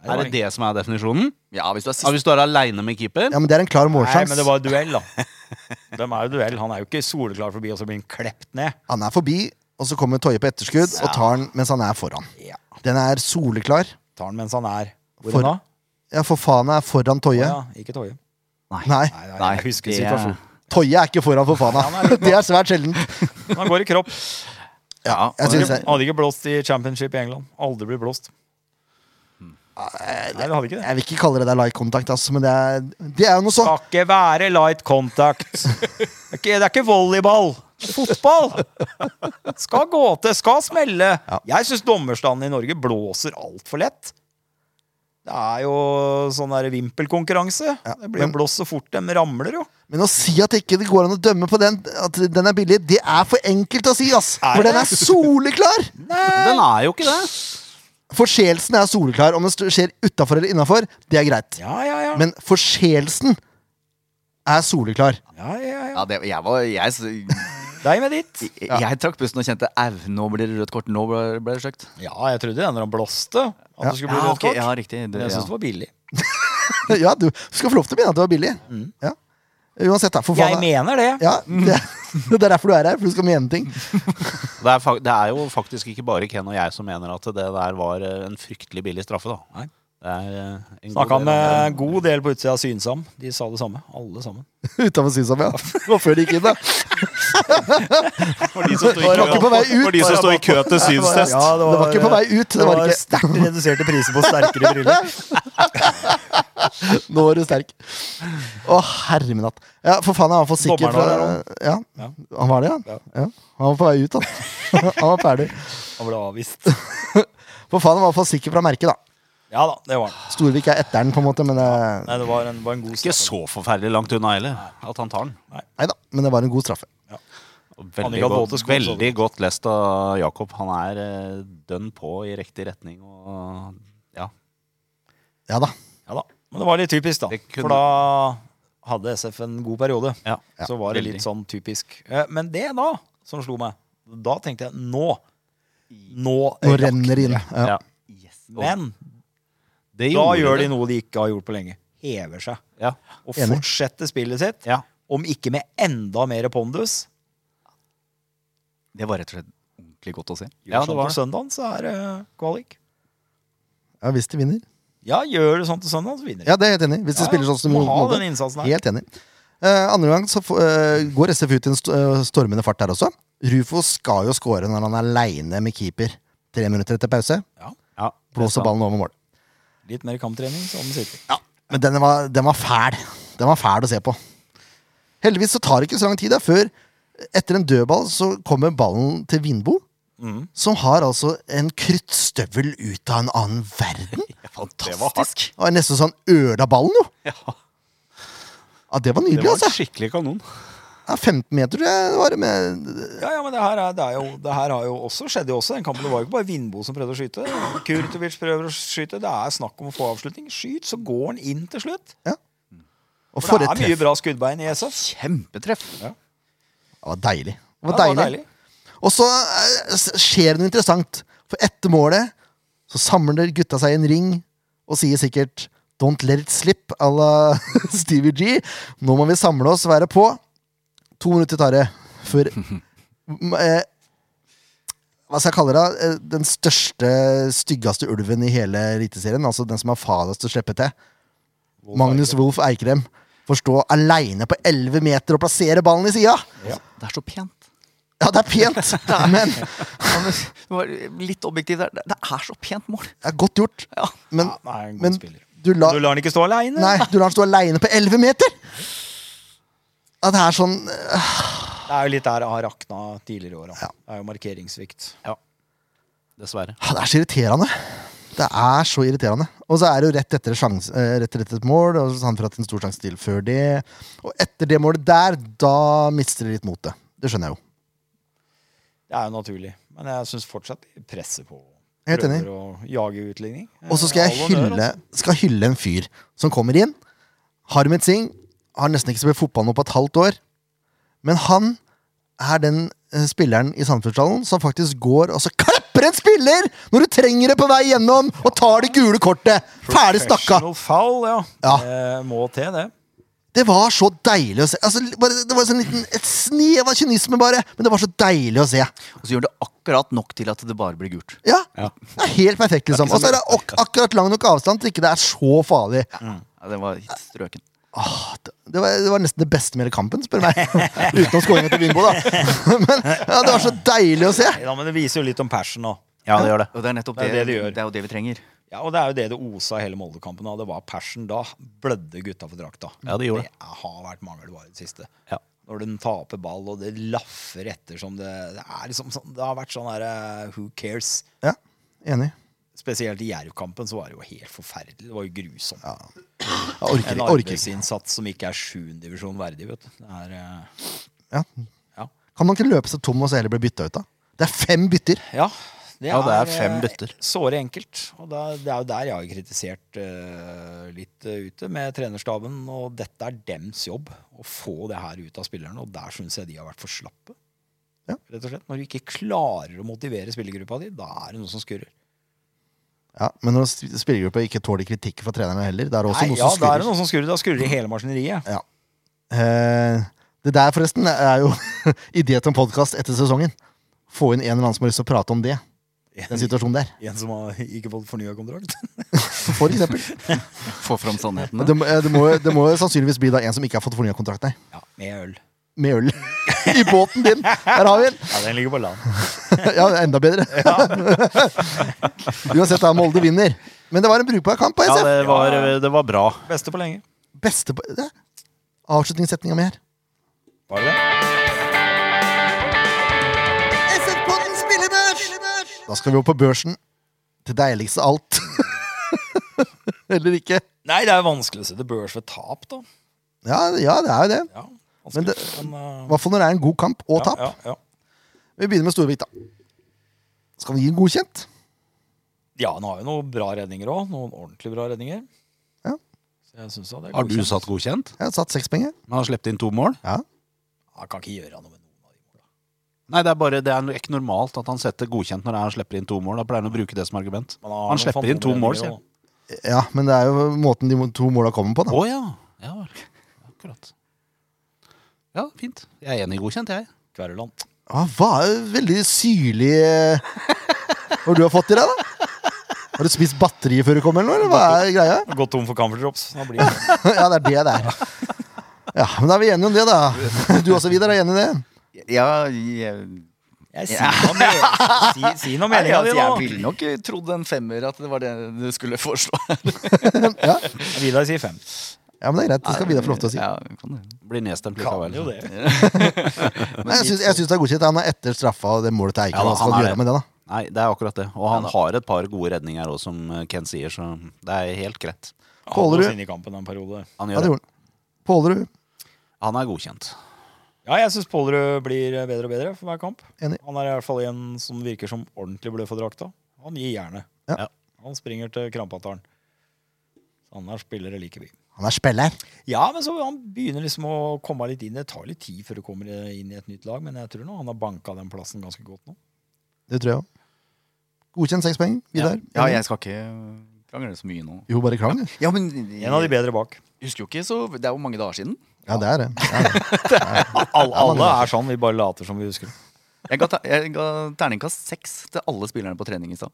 er det det som er definisjonen? ja, hvis du er Ja, sist hvis du er aleine med keeper? Ja, men det er en klar Nei, men det målsjanse. var duell, da. De er jo duell. Han er jo ikke soleklar forbi, og så blir han klept ned. Han er forbi, og så kommer Toje på etterskudd og tar den mens han er foran. Ja. Den er soleklar. Tar han mens han er Hvor For- er han da? Ja, for faen er foran Toje. Ja, ikke Toje. Nei, Nei, nei, Nei, jeg husker det er- situasjonen. Toje er ikke foran for faen. Det er svært sjeldent. Han går i kropp. Ja, Jeg Han synes jeg, hadde ikke blåst i championship i England. Aldri blitt blåst. Nei, det hadde ikke det. jeg vil ikke kalle det der light contact, ass, men det er, det er jo noe sånn. Skal ikke være light contact. Det er ikke, det er ikke volleyball. Det er Fotball! Skal gå til, skal smelle. Jeg syns dommerstanden i Norge blåser altfor lett. Det er jo sånn der vimpelkonkurranse. det blir jo men- blåst så fort de ramler, jo. Men å si at ikke det går an å dømme på den, at den er billig, det er for enkelt å si, ass. For den er soleklar! Den er jo ikke det. Forseelsen er soleklar. Om det st- skjer utafor eller innafor, det er greit. Ja, ja, ja. Men forseelsen er soleklar. ja, ja, ja. ja det, jeg, var, jeg, s- Deg med ditt. jeg, trakk pusten og kjente au, nå blir det rødt kort. Nå ble, ble det stygt. Ja, jeg trodde det når han blåste, at det skulle bli Ja, rødt ok, kort. ja, riktig. Men Det, jeg syns det ja. var billig. ja, du skal få lov til å mene at det var billig. Ja. Uansett, da. For Mm. Jeg faen. mener det. Ja, det, det er derfor du er her, for du skal mene ting. Det er, fak- det er jo faktisk ikke bare Ken og jeg som mener at det der var eh, en fryktelig billig straffe, da. Nei. Det er eh, en Snakka god del med andre. en god del på utsida av Synsam. De sa det samme, alle sammen. Utenfor Sysam, ja. Det var før de gikk inn, da. For de som står Det i var ikke på vei ut. For de som står i kø til synstest. Ja, det, var, ikke på vei ut. Det, var ikke. sterkt reduserte priser på sterkere briller. Nå var du sterk. Å, herre min hatt. Ja, for faen, han var for sikker. Dommeren var Fra, ja, Ja. han var det, ja? ja? Han var på vei ut, han. Han var ferdig. Han ble avvist. For faen, han var for sikker fra merket, da. Ja da, det var han. Storvik er etteren, på en måte, men eh, det, Nei, det var en, var en god Ikke så forferdelig langt unna heller, at han tar den. nei da, men det var en god straffe. Han Veldig, ikke hadde våte godt, sko, så veldig godt lest av Jakob. Han er eh, dønn på i riktig retning. Og, ja. Ja da. Ja da. Men det var litt typisk, da. Det kunne- For da hadde SF en god periode. Ja. så var det veldig. litt sånn typisk. Eh, Men det da, som slo meg, da tenkte jeg nå. Nå, eh, Nå renner det inn. Ja. Ja. Yes. Men Det da gjorde gjør det. de noe de ikke har gjort på lenge. Hever seg. Ja. og Enig. fortsette spillet sitt, Ja. om ikke med enda mer pondus. Det var rett og slett ordentlig godt å se. Gjør Ja, det sånn var på det. søndagen, så er det eh, kvalik. Ja, hvis de vinner. Ja, gjør du sånn til søndag, så vinner du. Ja, det er jeg helt enig. i. Hvis de spiller sånn som de må gjorde ha mot den innsatsen her. Helt enig. Eh, andre gang så få- eh, går SF ut i en st eh, stormende fart der også. Rufo skal jo score når han er aleine med keeper. Tre minutter etter pause. Ja. Blåser ballen over mål. Litt mer kamptrening, så den sitter. Men den var, den var fæl. Den var fæl å se på. Heldigvis så tar det ikke så lang tid da, før etter en dødball så kommer ballen til Vindbo. Mm. Som har altså en kryttstøvel ut av en annen verden. Fantastisk! Og er nesten så han øla ballen, jo. Ja. Ja, Det var Det nydelig, var en altså. skikkelig kanon. Ja, 15 meter, tror jeg det var. Med Ja, ja, men det her, er, det er jo, det her har jo også skjedd jo også. Den kampen det var jo ikke bare Vindbo som prøvde å skyte. Kurtovic prøver å skyte. Det er snakk om å få avslutning. Skyt, så går han inn til slutt. Og For for det et er mye treff. bra skuddbein i SF. Kjempetreff. Det var deilig. Det Ja, var deilig. Og så eh, s- skjer det noe interessant. For etter målet så samler gutta seg i en ring og sier sikkert Don't let it slip à la Stevie G. Nå må vi samle oss, være på. To minutter tar det før m- eh, Hva skal jeg kalle det? da? Eh, Den største, styggeste ulven i hele Eliteserien. Altså den som er farligst å slippe til. Magnus Wolff Eikrem får stå aleine på 11 meter og plassere ballen i sida. Altså, Det er så pent. Ja, det er pent, men Ja, men, det var litt objektiv der. Det- Det er så pent mål. det er godt gjort. Ja. Men, Ja, nei, en god men spiller. du la Du lar han ikke stå aleine? Nei, du lar han stå aleine på 11 meter! Ja, det er sånn øh, Det er jo litt der det har rakna tidligere i åra. Ja. Det er jo markeringssvikt. Dessverre. Det er så irriterende. Det er så irriterende. Og så er det jo rett etter, sjans, eh, rett etter et mål, og så han får hatt en stor sjanse til før det. Og etter det målet der, da mister de litt motet. Det skjønner jeg jo. Det er jo naturlig. Men jeg syns fortsatt de presser på. Helt enig. Prøver å jage utligning. Og så skal jeg All honnør, hylle, altså. skal hylle en fyr som kommer inn. Harmet Singh har nesten ikke spilt fotball nå på et halvt år. Men han er den eh, spilleren i Sandfjordsdalen som faktisk går og så klapper en spiller når du trenger det på vei gjennom, og tar det gule kortet! Ferdig snakka! Professional foul, ja. Ja. Det må til, det. Det var så deilig å se. Altså, bare, det var sånn liten, Et snev av kynisme, bare, men det var så deilig å se. Og så gjør det akkurat nok til at det bare blir gult. Ja, Det er helt perfekt, liksom. Og så er det ak akkurat lang nok avstand til ikke det er så farlig. Ja, det var litt strøken. Åh, det- det, var, det var nesten det beste med hele kampen, spør du meg. Utenom skåringen til Vindbo, da. Men ja, det var så deilig å se. Ja, men det viser jo litt om passion òg. Ja, det gjør det. Og det er nettopp Det det, er det det gjør. det er jo det vi trenger. Ja, og det er jo det det osa i hele Molde-kampen av. Det var passion. Da blødde gutta for drakta. Ja, det gjorde det. Det har vært mangelvare i det siste. Ja. Når den taper ball, og det laffer etter som det Det, er liksom sånn, det har vært sånn derre who cares? Ja, Enig. Spesielt i Jerv-kampen så var det jo helt forferdelig. Det var jo grusomt. Jeg orker En ikke. Orker. ikke. arbeidsinnsats som ikke er sjuendedivisjon verdig, vet du. Det er, eh, Ja. ja. Kan man ikke løpe seg tom og så heller bli bytta ut, da? Det er fem bytter. Ja, det Ja, det er fem eh, bytter. Såre enkelt. Og det er, det er jo der jeg har kritisert eh, litt eh, ute med trenerstaben. Og dette er dems jobb, å få det her ut av spillerne. Og der syns jeg de har vært for slappe. Ja. Rett og slett. Når du ikke klarer å motivere spillergruppa di, da er det noe som skurrer. Ja, Men når sp- spillergruppa ikke tåler kritikk fra trenerne heller, det er det også Nei, noe ja, som da er det skurrer. noe som skurrer. Da skurrer det i hele maskineriet. Ja. Eh, det der, forresten, er jo idé til en podkast etter sesongen. Få inn en eller annen som har lyst til å prate om det. Den situasjonen der, En som har ikke fått fornya kontrakt. for eksempel. Få fram sannheten. Det, må- eh, det, må, jo- det må jo sannsynligvis bli da en som ikke har fått fornya kontrakt, nei. Ja, med øl. med øl i båten din. Der har vi den! Ja, den ligger på land. Ja, enda bedre. Uansett, da Molde vinner. Men det var en brukbar kamp. Ja, SF. det var, det var bra. Beste på lenge. Beste på det. Avslutningssetninga mi her. Var det det? Da skal vi opp på børsen. Til deiligste alt. Eller ikke. Nei, det er jo vanskelig å sette børs ved tap, da. Ja, ja, det er jo det. Ja, Men det- vanskelig, men, I eh, hvert fall når det er en god kamp og tap. Ja, ja, ja. Vi begynner med Storvik, da. Skal vi gi en godkjent? ja, han har jo noen bra redninger òg. Noen ordentlig bra redninger. Ja. Så jeg synes da det er Har du godkjent. satt godkjent? Jeg har satt seks penger. Men har sluppet inn to mål? Ja. Han kan ikke gjøre noe med noen av de måla. Nei, det er bare, det er ikke normalt at han setter godkjent når han slipper inn to mål. Da pleier han å bruke det som argument. Men har Han noen slipper inn to fantomredninger mål, sier han. også. ja, men det er jo måten de to måla kommer på. da Å ja. Ja vel. Akkurat. Ja, fint. Jeg er enig godkjent, jeg. Kveruland. Ah, hva er veldig syrlig eh, Hva har du har fått i deg, da? Har du spist batteri før du kom, eller noe? Eller hva er greia? Gått tom for camphordrops. Da blir det Ja, det er det det er. Ja, men da er vi enige om det, da. Du også, Vidar, er enig i det? Ja, jeg, Jeg sier noe me- si, si noe Nei, meninga altså, di jeg nå. ville nok trodd en femmer at det var det du skulle foreslå. Vidar sier fem. Ja, men det er greit. Det skal Vidar få lov til å si. Ja, kan det. Blir nedstemt likevel. Jo, det. Nei, jeg syns, jeg syns det er godkjent. Han er etter straffa og det målet til Ja, Eikrem. da, Hva skal han du er gjøre det. med det, da? Nei, det er akkurat det. Og han har et par gode redninger òg, som Ken sier, så det er helt greit. Holder Kålerud. du? i kampen en periode. Han, Ja, gjør det det. gjorde han. Pålerud. han er godkjent. Ja, jeg syns Pålerud blir bedre og bedre for hver kamp. Enig. Han er i hvert fall en som virker som ordentlig blød for drakta. Han gir jernet. Ja. Ja. Han springer til krampataren. Så han er spillere like mye. Han er spiller. Ja, men så han begynner liksom å komme litt inn. Det tar litt tid før du kommer inn i et nytt lag, men jeg tror nå han har banka den plassen ganske godt nå. Det tror jeg òg. Godkjent seks poeng. Vidar? Ja, jeg skal ikke krangle så mye nå. Jo, bare klang, du. Ja, men En av de bedre bak. Husker jo ikke, så Det er jo mange dager siden. Ja, det er det. Ja, ja. Alle, alle er sånn, vi bare later som vi husker. Jeg ga, ta, jeg ga terningkast seks til alle spillerne på trening i stad.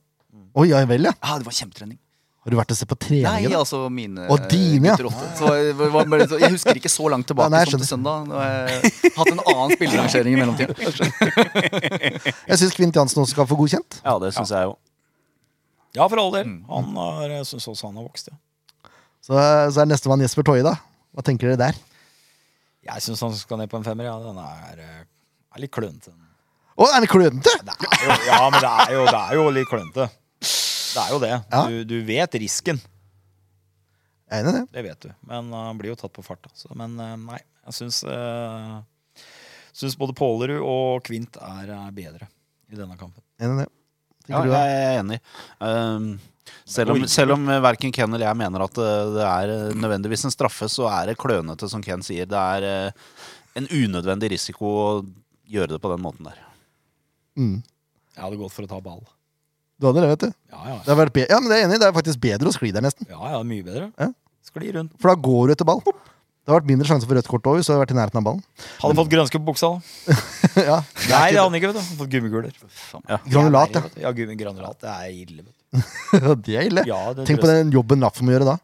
Oi, ja vel, ja. Ah, det var kjempetrening. Har du vært og sett på Nei, treninger? da? altså mine Og dine, ja. ja. Så jeg, var bare, så jeg husker ikke så langt Nei, tilbake nei, jeg som til søndag. Nå har jeg hatt en annen spillerrangering i mellomtida. Jeg syns Kvint Jansen også skal få godkjent. Ja, det syns jeg jo. Ja, for all del. Han har- Jeg syns også han har vokst, ja. Så, så er nestemann Jesper Toie, da. Hva tenker dere der? Jeg syns han skal ned på en femmer, ja. Den er, eh, er litt klønete. den. Å, er det klønete? Det er jo, ja, men det er jo, det er jo litt klønete. Det er jo det. Ja. Du, du vet risken. Jeg er enig i det. Det vet du. Men eh, han blir jo tatt på farta. Så, men eh, nei, jeg syns eh, Syns både Pålerud og Kvint er, eh, bedre i denne kampen. Enig i det. Ja, Tenker du da? jeg er enig. Ehm, selv om, selv om verken Ken eller jeg mener at eh, det er eh, nødvendigvis en straffe, så er det klønete, som Ken sier. Det er eh, en unødvendig risiko å gjøre det på den måten der. Mm. Jeg hadde gått for å ta ball. Du hadde det, vet du. Ja, ja. Det har vært be ja, men det er jeg enig, i. det er faktisk bedre å skli der, nesten. ja, ja mye bedre. Ja. Skli rundt. For da går du etter ball. Det har vært mindre sjanse for rødt kort òg, hvis du hadde vært i nærheten av ballen. Hadde fått grønske på buksa, da. ja. Nei, det hadde han ikke. vet du Hadde Fått gummikuler. Granulat, ja. Ja, gummigranulat. Det er ille. vet det er ille. du. Ja, det Tenk på den jobben NAF må gjøre da.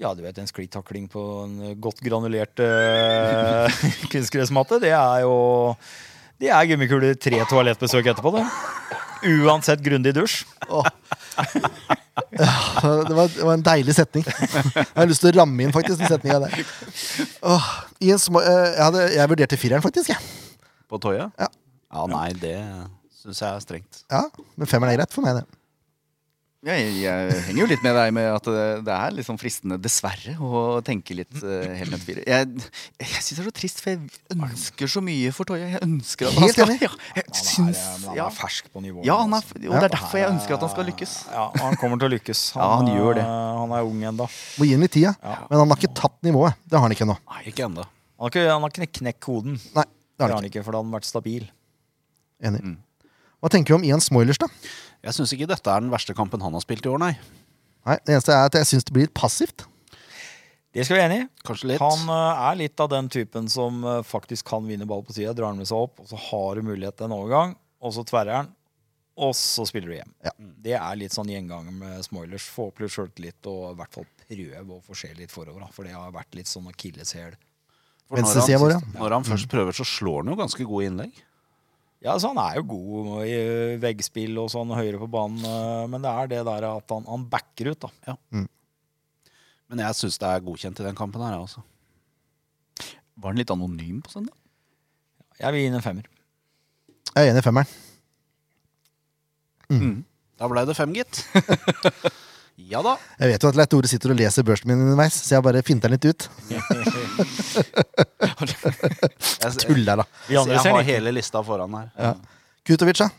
Ja, du vet, en sklitakling på en godt granulert eh, kunstgressmatte, det er jo Det er gummikuler tre toalettbesøk etterpå, det. Uansett grundig dusj. Åh. Ja, Det var, det var en deilig setning. Jeg har lyst til å ramme inn faktisk den setninga der. Åh, i en små, eh, jeg, hadde, jeg vurderte fireren, faktisk. jeg. På Toya? Ja. ja, nei, det syns jeg er strengt. Ja, Men femmeren er greit for meg, det. Jeg, jeg henger jo litt med deg med at det, det er liksom fristende, dessverre, å tenke litt eh, helt ned til fire. Jeg, jeg syns det er så trist, for jeg ønsker så mye for Toje. Jeg ønsker at han Helt skal enig. ja, jeg Han er, syns, han ja. er fersk på nivået. ja, han er, altså. og det er derfor jeg ønsker at han skal lykkes. Ja, og han kommer til å lykkes. Ja, han gjør det. er- Han er ung ennå. Må gi ham litt tid, ja. Men han har ikke tatt nivået. Det har han ikke ennå. Nei, ikke ennå. Han har ikke, han har ikke knekt- knekt koden. Det Nei, det har har han ikke. han ikke, for da hadde han vært stabil. Enig. Hva tenker du om Ian Smoilers, da? Jeg syns ikke dette er den verste kampen han har spilt i år, nei. Nei, Det eneste er at jeg syns det blir litt passivt. Det skal vi være enig i. Kanskje litt. Han eh, er litt av den typen som eh, faktisk kan vinne ball på sida, drar den med seg opp, og så har du mulighet til en overgang, og så tverrer han, og så spiller du hjem. Ja. Det er litt sånn gjenganger med Smoilers. Få opp litt sjøltillit, og i hvert fall prøve å få se litt forover, da, for det har vært litt sånn akilleshæl. For når Venstresida han- vår, ja. Når han først prøver, så slår han jo ganske gode innlegg. Ja, så han er jo god i eh, veggspill og sånn høyere på banen, eh, men det er det der at han, han backer ut, da. Men jeg syns det er godkjent i den kampen her, jeg altså. også. Var han litt anonym på søndag? Jeg vil gi ham en femmer. Jeg er enig i femmeren. Da blei det fem, gitt. ja da. Jeg vet jo at Leif Tore sitter og leser børsen min underveis, så jeg bare finter den litt ut. Jeg, jeg, Tuller, da. Vi andre jeg ser har den ikke. hele lista foran her. Kutovic, da?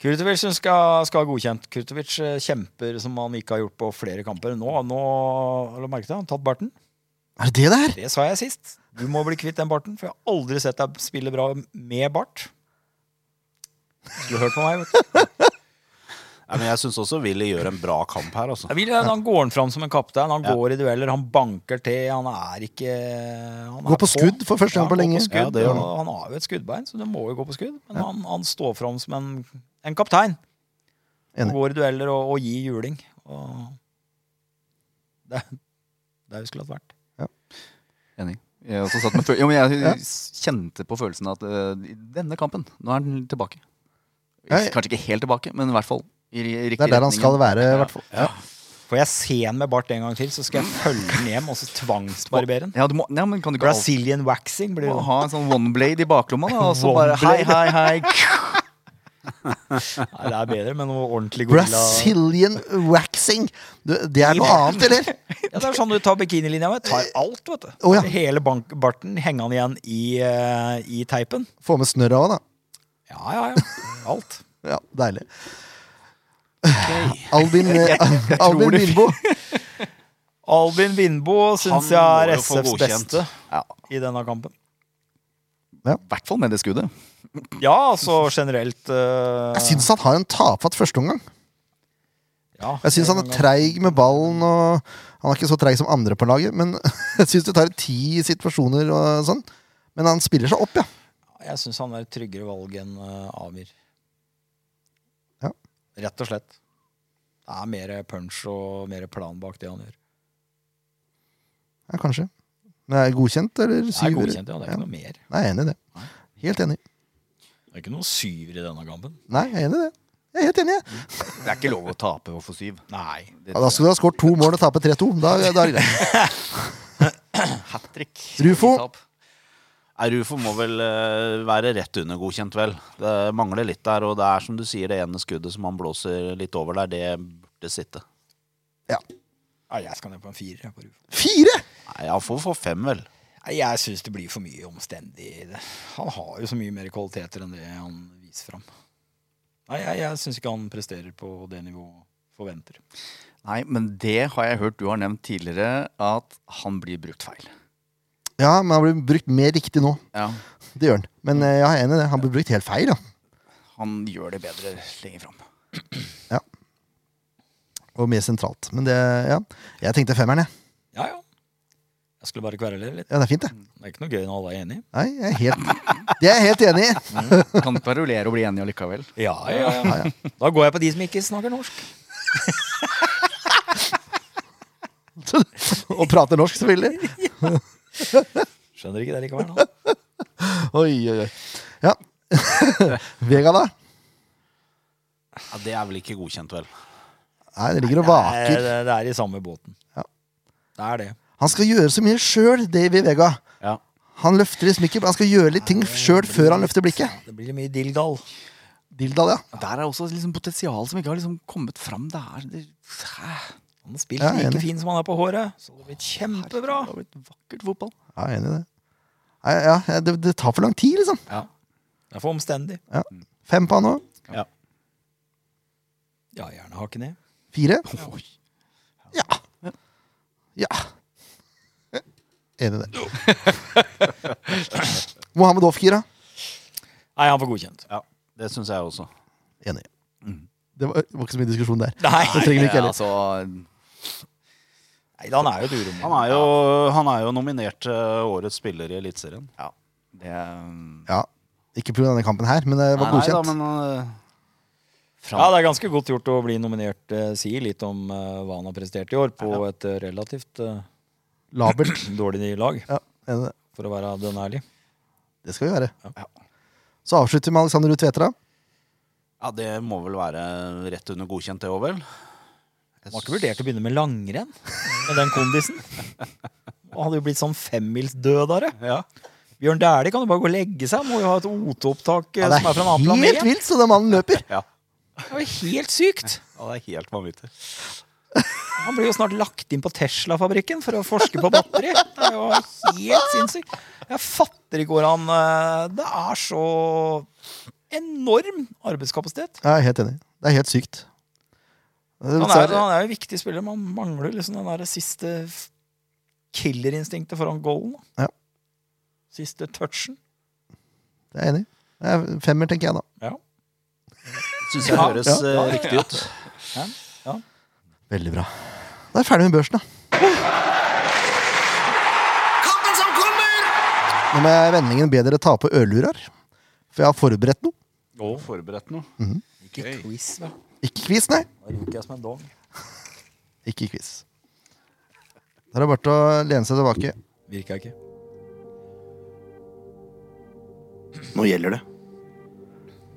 Kurtovic skal, skal ha godkjent. Kurtovic eh, kjemper som han ikke har gjort på flere kamper. Nå, nå har du merket det, han har tatt barten. Er det det der? Det sa jeg sist. Du må bli kvitt den barten, for jeg har aldri sett deg spille bra med bart. Skulle hørt på meg. vet du. Nei, men jeg syns også Willy gjør en bra kamp her, altså. Jeg vil, han går han fram som en kaptein. Han går i dueller, han banker til. Han er ikke han Går på skudd for første gang på han går lenge. skudd, Ja, det gjør han. og han har jo et skuddbein, så det må jo gå på skudd. Men han, han står fram som en, en kaptein. Han Enig. går i dueller og, og gir juling. Og det det er jo skulle hatt vært. Enig. Jeg, også satt med føl- jo, men jeg kjente på følelsen at øh, i denne kampen, nå er den tilbake. Ja, Kanskje ikke helt tilbake, men i hvert fall i, i riktig Det er der han skal være, i Ja. hvert fall. Ja. Får jeg se han med bart en gang til, så skal jeg følge den hjem og så tvangsbarbere den. Ja, du må, ja, men kan du ikke alltid Brazilian waxing blir det. ha en sånn one blade i baklomma, da, og så One bare hei, blade. hei, hei. Nei, det er bedre med noe ordentlig gorilla. Brazilian waxing! Du, det er noe annet, eller? Ja, det er sånn du tar bikinilinja med. Tar alt, vet du. Å, ja. Hele bank barten hengende igjen i, eh, i teipen. Få med snørra òg, da. Ja, ja, ja. Alt. Ja, deilig. Albin, eh, Albin det- Lindboe. Albin Vindbo syns jeg Han er må jo få SFs godkjent. beste Ja. i denne kampen. I hvert fall med det skuddet. Ja, altså generelt eh, Jeg syns han har en tafatt førsteomgang. ja, Jeg syns han er treig med ballen. Og han er ikke så treig som andre på laget, men jeg syns det tar ti situasjoner og sånn. Men han spiller seg opp, ja. Jeg syns han er et tryggere valg enn eh, Amir. Ja. Rett og slett. Det er mer punch og mer plan bak det han gjør. ja kanskje. Men er det godkjent, eller Det er syver? godkjent, ja. Det er ikke noe mer. Nei, jeg er enig i det. Helt enig. Det er ikke noen syver i denne kampen. Nei, jeg er enig i det. Jeg er helt enig, jeg. Det er ikke lov å tape og få syv. Nei. Ja, da skulle du ha skåret to mål og tape 3-2. Da, da er det greit. Hat trick. Rufo. Nei, Rufo må vel eh, være rett under godkjent, vel. Det mangler litt der, og det er som du sier, det ene skuddet som han blåser litt over der, det burde sitte. Nei, jeg skal ned på en firer. jeg, på Rufo. Fire! Nei, han får få fem, vel. Nei, Jeg syns det blir for mye omstendig. i det. Han har jo så mye mer kvaliteter enn det han viser fram. Nei, jeg, jeg syns ikke han presterer på det nivået forventer. Nei, men det har jeg hørt du har nevnt tidligere, at han blir brukt feil. Ja, men han blir brukt mer riktig nå. Ja. Det gjør han. Men eh, jeg er enig i det. Han blir brukt helt feil, ja. Han gjør det bedre lenger fram. Og mer sentralt. Men det, ja. Jeg tenkte femmeren, jeg. Ja, ja. Jeg skulle bare kverle litt. Ja, det er fint, det. Det er ikke noe gøy når alle er enige. Nei, jeg er helt, det er jeg helt enig i. Kan parolere og bli enige allikevel. Ja, ja, ja. Da går jeg på de som ikke snakker norsk. Og prater norsk, selvfølgelig. Skjønner ikke det likevel. Da. Oi, oi, oi. Ja. Vega, da? Ja, det er vel ikke godkjent, vel. Nei, det ligger og vaker. Eh, Det, er- det er i samme båten. Ja. Det er det. Han skal gjøre så mye sjøl, Davy Vega. Ja. Han løfter liksom ikke Han skal gjøre litt ting sjøl før han løfter blikket. Det blir mye dilldall. Dildal, ja. Der er også liksom potensial som ikke har liksom kommet fram. Det er det, Hæ? Han spiller Ja, jeg er like enig. fin som han er på håret, så det blir kjempebra. Det har blitt vakkert fotball. Ja, jeg er enig i det. Nei, ja, det, det tar for lang tid, liksom. Det er for omstendig. Fem på han nå. Ja, gjerne hakke ned. Fire. Oi. Ja. Ja. Enig i det. Mohammed Ofkir, da? Nei, han får godkjent. ja. Det syns jeg også. Enig. Det var, det var ikke så mye diskusjon der. Mm. Nei, Det trenger vi ikke heller. altså, Nei han er jo et uromoment. Han er jo, han er jo nominert til årets spiller i Eliteserien. ja, det um, Ja. Ikke pga. denne kampen her, men det var Nei, godkjent. Nei, da, men, eh, Ja, det er ganske godt gjort å bli nominert. eh, sier litt om eh, hva han har prestert i år på et eh, relativt eh, Labert. dårlig lag, Ja, enig i det. for å være den ærlig. Det skal vi være. Ja. Så avslutter vi med Alexander Ruud Tveter, da. ja, det må vel være rett under godkjent, det òg, vel? Han har ikke vurdert å begynne med langrenn med den kondisen. Han hadde jo blitt sånn femmilsdødere. Ja. Bjørn Dæhlie kan jo bare gå og legge seg. Må jo ha et OT-opptak eh, Ja, det som er fra en annen er helt planet. vilt, så den mannen løper. Ja. Det var helt sykt. ja, det er helt vanvittig. Han blir jo snart lagt inn på Tesla-fabrikken for å forske på batteri. Det er jo helt sinnssykt. Jeg fatter ikke hvordan eh, Det er så enorm arbeidskapasitet. Jeg er helt enig. Det er helt sykt. Han er, han er jo en viktig spiller, men han mangler liksom den der siste f- killerinstinktet foran goalen. da. Ja. Siste touchen. Det er jeg enig. i. Det er femmer, tenker jeg, da. Ja. Syns jeg Ja, høres ja. eh, riktig ut. Ja, ja. Veldig bra. Da er jeg ferdig med børsen, da. Nå må jeg vennlingen be dere ta på ørlurer, for jeg har forberedt noe. Forberedt noe. Ikke quiz, da. Ikke quiz, nei. Da roker jeg som en dong. Ikke quiz. Da er det bare å lene seg tilbake. Virka ikke. Nå gjelder det.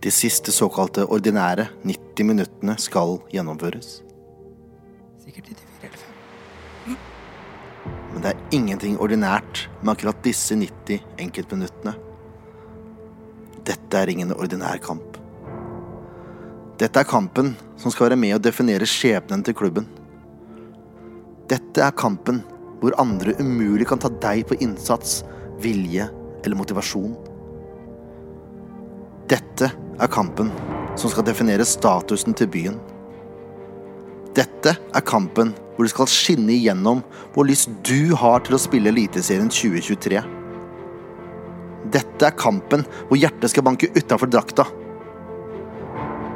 De siste såkalte ordinære 90 minuttene skal gjennomføres. Sikkert 94 eller 5. Men det er ingenting ordinært med akkurat disse 90 enkeltminuttene. Dette er ingen ordinær kamp. Dette er kampen som skal være med å definere skjebnen til klubben. Dette er kampen hvor andre umulig kan ta deg på innsats, vilje eller motivasjon. Dette er kampen som skal definere statusen til byen. Dette er kampen hvor det skal skinne igjennom hvor lyst du har til å spille Eliteserien 2023. Dette er kampen hvor hjertet skal banke utafor drakta.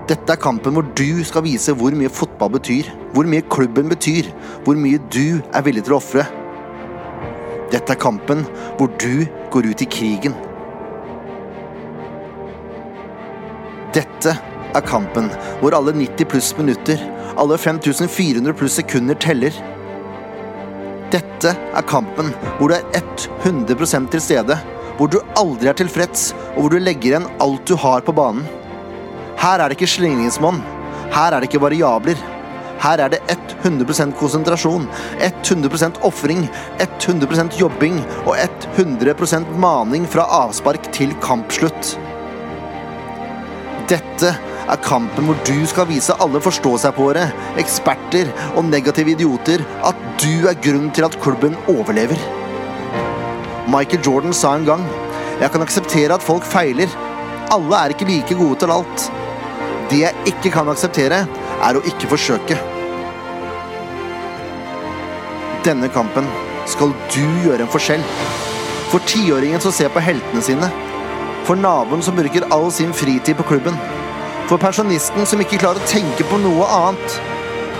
Dette er kampen hvor du skal vise hvor mye fotball betyr, hvor mye klubben betyr, hvor mye du er villig til å ofre. Dette er kampen hvor du går ut i krigen. Dette er kampen hvor alle 90 pluss minutter, alle 5400 pluss sekunder teller. Dette er kampen hvor du er 100 til stede, hvor du aldri er tilfreds, og hvor du legger igjen alt du har på banen. Her er det ikke slingringsmonn. Her er det ikke variabler. Her er det 100 konsentrasjon, 100 ofring, 100 jobbing og 100 maning fra avspark til kampslutt. Dette er kampen hvor du skal vise alle forstå-seg-på-ere, eksperter og negative idioter at du er grunnen til at klubben overlever. Michael Jordan sa en gang Jeg kan akseptere at folk feiler. Alle er ikke like gode til alt. Det jeg ikke kan akseptere, er å ikke forsøke. Denne kampen skal du gjøre en forskjell. For tiåringen som ser på heltene sine. For naboen som bruker all sin fritid på klubben. For pensjonisten som ikke klarer å tenke på noe annet.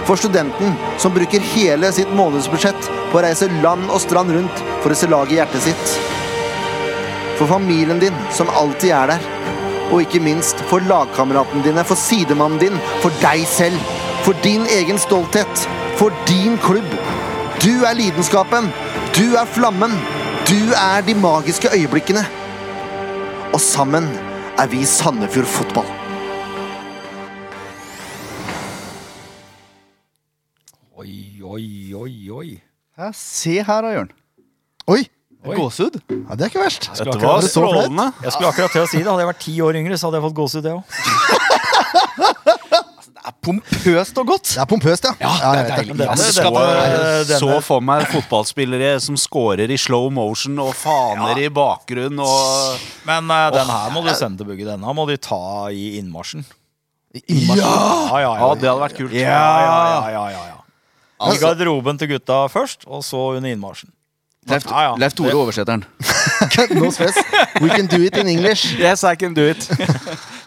For studenten som bruker hele sitt månedsbudsjett på å reise land og strand rundt for å se laget i hjertet sitt. For familien din som alltid er der. Og ikke minst for lagkameratene dine, for sidemannen din, for deg selv. For din egen stolthet. For din klubb. Du er lidenskapen. Du er flammen. Du er de magiske øyeblikkene og sammen er vi Sandefjord Fotball. Oi, oi, oi, oi. Ja, se her da, Jørn. Oi! Oi. Gåsehud. Ja, det er ikke verst. skulle Dette akkurat- var det så flaut? strålende. Jeg skulle akkurat til å si det. Hadde jeg vært ti år yngre, så hadde jeg fått gåsehud, det òg. Det er pompøst og godt. Det er pompøst, ja. Ja, jeg vet deilig. Jeg Denne- så, denne- eh, så for meg fotballspillere som scorer i slow motion og faner i bakgrunn og Men eh, den her må du sende til Bugge. Denne må du ta i innmarsjen. Ja, ja, Ja, det hadde vært kult. Ja, ja, ja, ja, ja. I Altså, garderoben til gutta først, og så under innmarsjen. Leif, Ja, ja. Leif Tore oversetteren. det. No stress. We can do it in English. Yes, I can do it.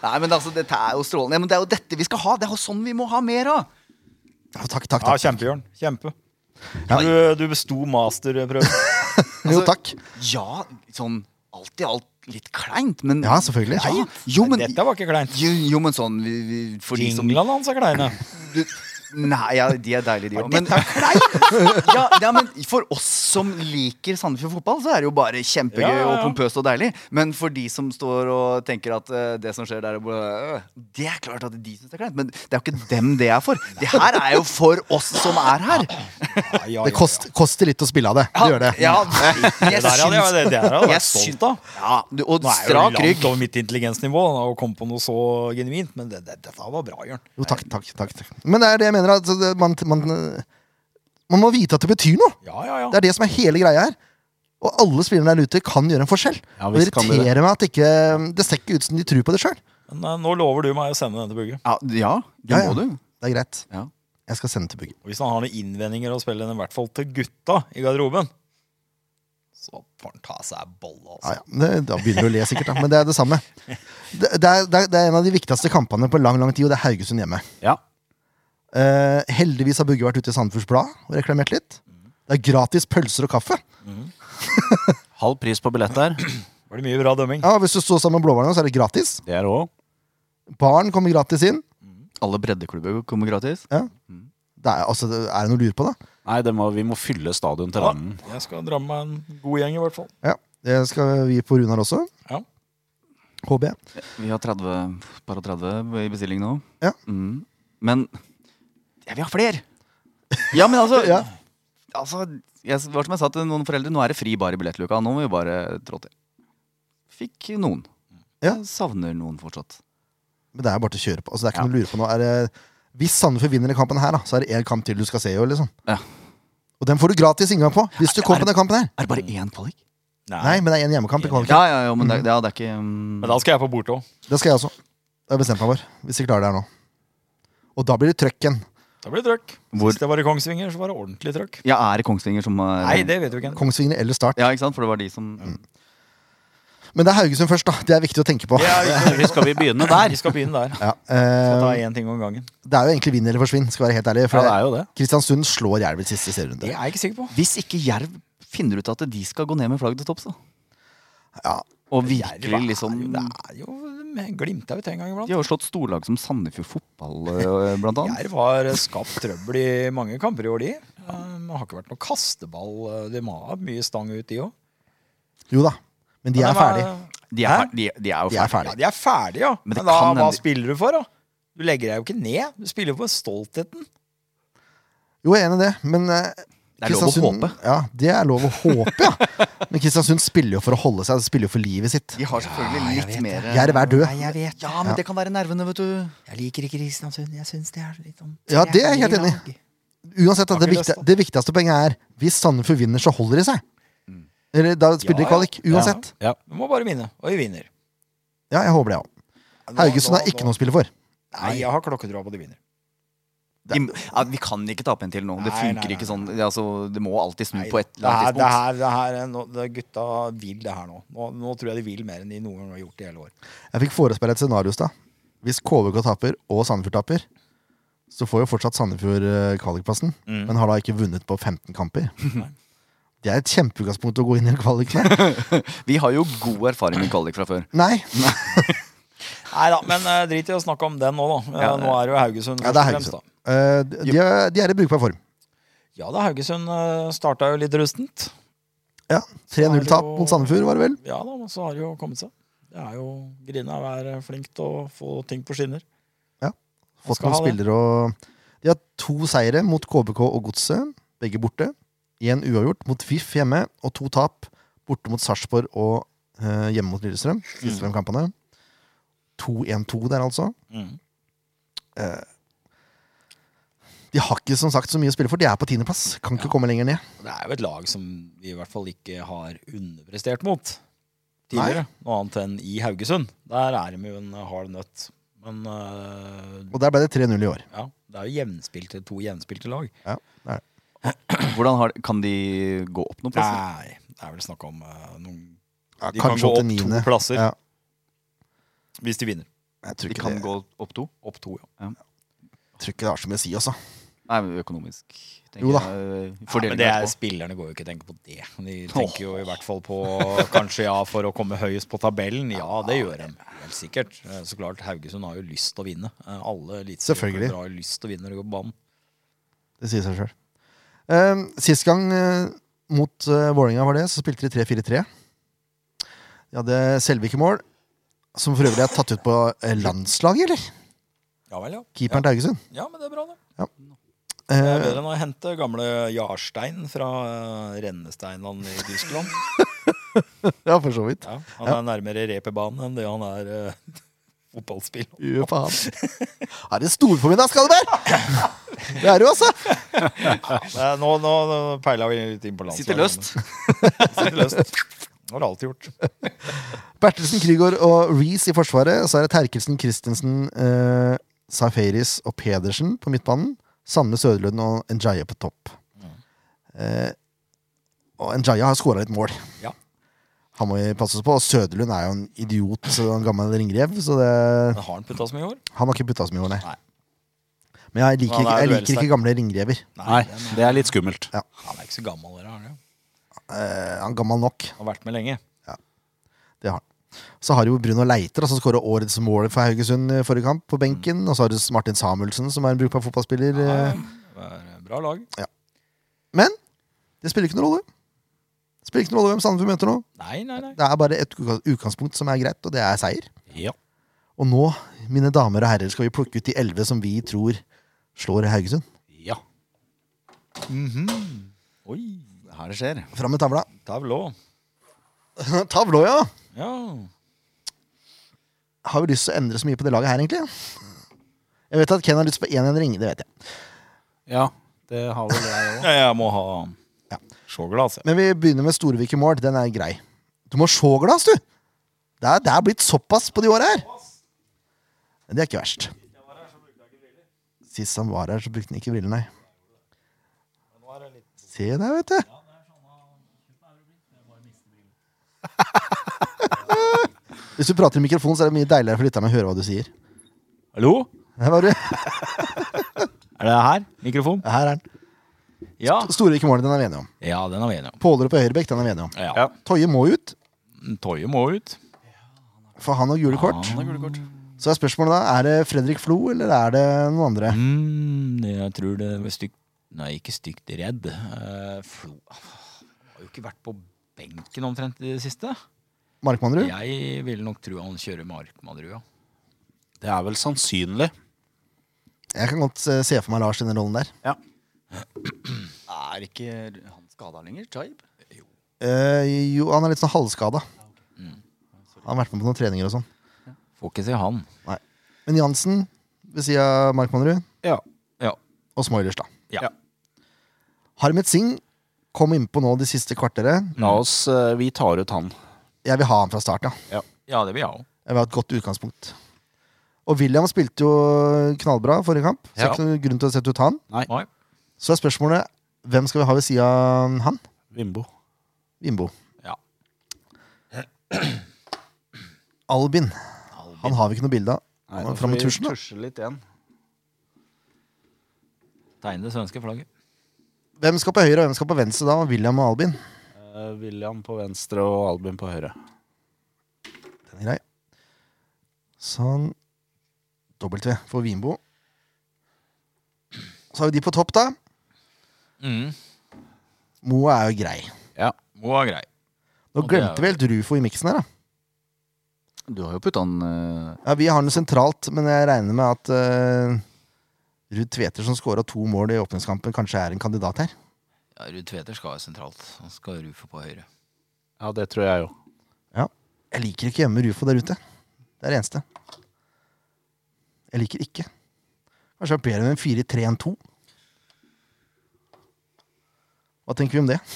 Nei, men altså, dette er jo strålende. Ja, men det er jo dette vi skal ha. Det er jo sånn vi må ha mer av. Ja, takk, takk, Ja, takk. kjempe, Jørn. Kjempe. Ja. Du, du besto masterprøven. Jo, takk. Ja, sånn alt i alt litt kleint, men Ja, selvfølgelig. Ja, jo, men, Dette var ikke kleint. jo, jo, men sånn vi, vi, For de som Jinglene hans er kleine. du, Nei, ja, de er deilige, de òg. Men, dette ja, ja, men for oss som liker Sandefjord fotball, så er det jo bare kjempegøy Ja, ja, ja. og pompøst og deilig. Men for de som står og tenker at eh, det som skjer der, er bare, øh, det er klart at de syns det er kleint. Men det er jo ikke dem det er for. Det her er jo for oss som er her. Ja, ja, Det ja. kost, koster litt å spille av det. Det gjør det. Ja, Det jeg der hadde jeg, syns det, det der hadde jeg Jeg vært stolt av. ja, du, Og Nå er jeg jo strak langt rygg. over mitt intelligensnivå da, å komme på noe så genuint, men det, det, dette var bra, Jørn. Jo, takk, takk, takk. takk. Men det er det jeg mener. At altså, det- man, man, man må vite at det betyr noe. Ja, ja, ja. Det er det som er hele greia her. Og alle spillerne der ute kan gjøre en forskjell. Ja, Og det visst kan de det. irriterer meg at det ikke um, Det ser ikke ut som de tror på det sjøl. Men eh, nå lover du meg å sende den til Bugge. Ja, ja, du Ja, ja. må du. Det er greit. Ja. Jeg skal sende til Bugge. Og Hvis han har noen innvendinger å spille den, i hvert fall til gutta i garderoben, så får han ta seg altså. bolle, altså. Ah, Ja, ja. Det, da begynner du å le, sikkert. da Men det er det samme. Det, det, er, det er- det er en av de viktigste kampene på lang lang tid, og det er Haugesund hjemme. Ja. Eh, heldigvis har Bugge vært ute i Sandefjords Blad og reklamert litt. Det er gratis pølser og kaffe. Halv pris på billett der. Var det mye bra dømming? Ja, Hvis du står sammen med blåhvalene, så er det gratis. Det er òg. Barn kommer gratis inn. Alle breddeklubber kommer gratis. Det er, altså, det- er det noe å lure på, da? Nei, det må, vi må fylle stadion til Ja, randen. jeg skal dra med meg en god gjeng, i hvert fall. Ja, Det skal vi på Runar også. Ja. HB. Vi har 30, bare 30 i bestilling nå. Ja. Mm. Men jeg vil ha flere! Ja, men altså, Ja. altså jeg, det var som jeg sa til noen foreldre, nå er det fri bar i billettluka. Nå må vi bare trå til. Fikk noen. Ja. Jeg savner noen fortsatt. Men det er jo bare til å kjøre på. Altså, det er ikke Ja. noe å lure på nå. Er det, hvis Sandefjord vinner den kampen her, da, så er det én kamp til du skal se i år. Liksom. Ja. Og den får du gratis inngang på hvis du Er- kommer er- på den kampen her. Er det bare én kvalik? Nei, men det er én hjemmekamp i kvaliken. Ja, ja, ja, men det, ja, det er ikke um, Men da skal jeg på borte òg. Det skal jeg også. Det har jeg bestemt meg for. Hvis jeg klarer det her nå. Og da blir det trøkk igjen. Da blir det trøkk. Hvor- Sist jeg var i Kongsvinger, så var det ordentlig trøkk. Jeg er i Kongsvinger som er Nei, det vet du ikke. ennå. Kongsvinger eller Start. Ja, ikke sant? For det var de som Men det er Haugesund først, da. Det er viktig å tenke på. Det er ikke- Vi skal vi begynne der? Vi skal begynne der. Ja, Skal ta eh, én ting om gangen. det er jo egentlig vinn eller forsvinn, skal være helt ærlig. Ja, For det er jo det. Kristiansund slår Jerv i siste serierunde. Det er jeg ikke sikker på. Hvis ikke Jerv finner ut at de skal gå ned med flagget til topps, da. Ja. Og Jerv er virkelig liksom sånn- jo- Det er jo med Glimt er jo til en gang De iblant. har jo slått storlag som Sandefjord fotball, eh, blant annet. Jerv har eh, skapt trøbbel i mange kamper i år, de. Um, det har ikke vært noe kasteball. eh, De må ha mye stang ut, de òg. Jo da. Men de er ferdige. De er, Hæ? fer- de, de er jo De er ferdige. Ja, ferdige. de er ferdige, ja. Men Men, det da, kan hva hende- spiller du for, da? Du legger deg jo ikke ned. Du spiller for stoltheten. Jo, jeg er enig i det, men eh, Det er lov å Kristiansund- håpe. Ja, det er lov å håpe, ja. Men Kristiansund spiller jo for å holde seg, de spiller jo for livet sitt. De har selvfølgelig litt mer eh, Jerv er død. jeg vet. Ja, men det kan være nervene, vet du. Jeg liker ikke Kristiansund. Jeg syns det er litt sånn Ja, det er jeg helt enig i. Uansett, da, Har det, ikke viktig, lyst, da. det viktigste poenget er hvis Sandefjord vinner, så holder de seg. Eller da spiller Ja, de kvalik, uansett. Ja. Du må bare vinne, og vi vinner. Ja, jeg håper det, ja. Haugesund har ikke noe å spille for. Nei, jeg har klokketroa på at de vinner. De, ja, vi kan ikke tape en til nå. Det Nei, nei, funker nei, ikke sånn. Det, er altså, det må alltid snu Nei, på et det eller her, annet det tidspunkt. her, det her, er nå- det, gutta vil det her nå. nå. Nå tror jeg de vil mer enn de noen gang har gjort i hele år. Jeg fikk forespeile et scenario i stad. Hvis KVK taper og Sandefjord taper, så får jo fortsatt Sandefjord eh, kvalikplassen, Mm. men har da ikke vunnet på 15 kamper. Det er et kjempeutgangspunkt å gå inn i en kvalik med. Vi har jo god erfaring med kvalik fra før. Nei, Nei da, men eh, drit i å snakke om den nå, da. Eh, Ja, nå er det jo Haugesund. ja, det er først og fremst, Haugesund. Eh, de, de er- de er i brukbar form. da. Ja, da Haugesund eh, starta jo litt rustent. Ja, 3-0-tap mot Sandefjord, var det vel? Ja da, men så har det jo kommet seg. Det er jo Grina er eh, flink til å få ting på skinner. Fått skal noen ha det. spillere og De har to seire mot KBK og Godset, begge borte. Én uavgjort mot VIF hjemme, og to tap borte mot Sarpsborg og eh, hjemme mot Lillestrøm. Mm. Siste fem kampene. 2-1-2 der, altså. Eh, de har ikke som sagt så mye å spille for. De er på tiendeplass. Kan ikke komme lenger ned. Og Det er jo et lag som vi i hvert fall ikke har underprestert mot tidligere. Noe annet enn i Haugesund. Der er de jo en hard nøtt. Men eh, Og der ble det 3-0 i år. ja, det er jo jevnspilte, to jevnspilte lag. Ja, det er det. Hvordan har, kan de gå opp noen plasser? Nei, det er vel snakk om eh, noen Ja, De kan kanskje gå opp opp til to niende. plasser Ja, hvis de vinner. jeg tror De ikke, kan det, gå opp to? Opp to, ja. tror ikke det har så mye å si, altså. Nei, men økonomisk. tenker Jo da. jeg, eh, Ja, men fordelingen det er, etterpå. spillerne går jo ikke og tenker på det. De tenker jo i hvert fall på kanskje ja for å komme høyest på tabellen. Ja, det gjør de. Helt sikkert. Eh, Så klart, Haugesund har jo lyst til å vinne. Eh, Alle Selvfølgelig. eliteserieklubber har jo lyst til å vinne når de går på banen. Det sier seg sjøl. sist gang eh, mot uh, Vålerenga var det, så spilte de 3-4-3. De hadde Selvik i mål, som for øvrig er tatt ut på eh, landslaget, eller? Ja vel, ja. Keeperen til Haugesund. Ja, men det er bra, det. Det er Eh, bedre enn å hente gamle Jarstein fra eh, Rennesteinland i Tyskland. ja, for så vidt. Ja, han er nærmere reperbanen enn det han er eh, fotballspiller. Jo, faen. Er det storformiddag, Skalberg? Det er du, altså! Eh, Nå, nå, nå peila vi litt inn på landslaget. Sitter løst. men- Sitter løst. Det har det alltid gjort. Bertelsen, Krygård og Reece i forsvaret. Så er det Terkelsen, Christensen, uh, Safaris og Pedersen på midtbanen. Sanne Søderlund og Njaya på topp. Eh, og Njaya har skåra litt mål. Ja. Han må vi passe oss på. Og Søderlund er jo en idiot, så han er en gammel ringrev. Så det, Men har han putta så mye hår? han har ikke putta så mye år, nei. Nei. Men jeg liker, Han ikke, er jeg liker duellsterk. ikke gamle ringrever. Nei, det er litt skummelt. Han er ikke så gammel. dere, Han er jo. Eh, han er gammel nok. Han har vært med lenge. Det har han. Så har jo Bruno Leiter, som skåra årets mål for Haugesund i forrige kamp, på benken. Og så har du Martin Samuelsen, som er en brukbar fotballspiller. eh. Det er et Bra lag. Men det spiller ikke noen rolle. Det spiller ikke noen rolle hvem Sandefjord møter nå. Nei, nei, nei. Det er bare et uka- utgangspunkt som er greit, og det er seier. Ja. Og nå, mine damer og herrer, skal vi plukke ut de elleve som vi tror slår Haugesund. ja. Oi, Det er her det skjer. Fram med tavla. tavlå. Tavla, ja! Ja. Har vi lyst til å endre så mye på det laget her, egentlig? Jeg vet at Ken har lyst på én endring. Det vet jeg. ja. Det har vel jeg òg. ja. Jeg må ha Ja. Sjåglass. jeg. Men vi begynner med Storvik i mål. Den er grei. Du må se glass, du! Det er, det er blitt såpass på de åra her. Men Det er ikke verst. Sist han var her, så brukte han ikke briller, nei. Se der, vet du. Hvis du prater i mikrofonen, så er det mye deiligere for lytterne å høre hva du sier. Hallo? Her var du. Er det her? Mikrofon? Her er den. Ja. Storvik i mål, den er vi enige om. Ja, den er vi enige om. Pålerud på Høyrebekk, den er vi enige om. Ja. Toje må ut, Toye må ut. for han har gule kort. Så er spørsmålet da, er det Fredrik Flo, eller er det noen andre? Mm, jeg tror det var stygt Nei, ikke stygt redd. Eh, Flo har jo ikke vært på benken omtrent i det siste. Markmannrud? Jeg ville nok tro han kjører Markmadrua. Det er vel sannsynlig. Jeg kan godt eh, se for meg Lars i den rollen der. Er ikke han skada lenger? Jaib? Eh, jo, han er litt sånn halvskada. Mm. Han har vært med på noen treninger og sånn. Får ikke se han. Men Jansen ved sida av Markmannrud, Ja. Ja. og Smoilers, da. Ja. Harmet Singh kom innpå nå de siste kvarteret. La oss eh, Vi tar ut han. Jeg vil ha han fra start, ja. Ja, det vil jeg òg. Jeg vil ha et godt utgangspunkt. Og William spilte jo knallbra forrige kamp, så det er Ja. ikke noen grunn til å sette ut han. Nei. Så er spørsmålet hvem skal vi ha ved sida av han? Vimbo. Vimbo. Ja. Albin. Han har vi ikke noe bilde av. Nei, Han er da Fram med får vi tusjen, da. tusje litt igjen. Tegne det svenske flagget. Hvem skal på høyre, og hvem skal på venstre da? William og Albin. Eh, William på venstre og Albin på høyre. Den er grei. Sånn. W for Vinbo. Så har vi de på topp, da. Mm. Moa er jo grei. Må være grei. Nå Og det er glemte jo- vi helt Rufo i miksen her, da. Du har jo putta han eh, Ja, Vi har den sentralt, men jeg regner med at eh, Ruud Tveter, som skåra to mål i åpningskampen, kanskje er en kandidat her. Ja, Ruud Tveter skal jo sentralt. Han skal jo Rufo på høyre. Ja, det tror jeg jo. Jeg liker ikke å gjemme Rufo der ute. Det er det eneste. Jeg liker ikke. Kanskje det er bedre med en 4-3-1-2. Hva tenker vi om det?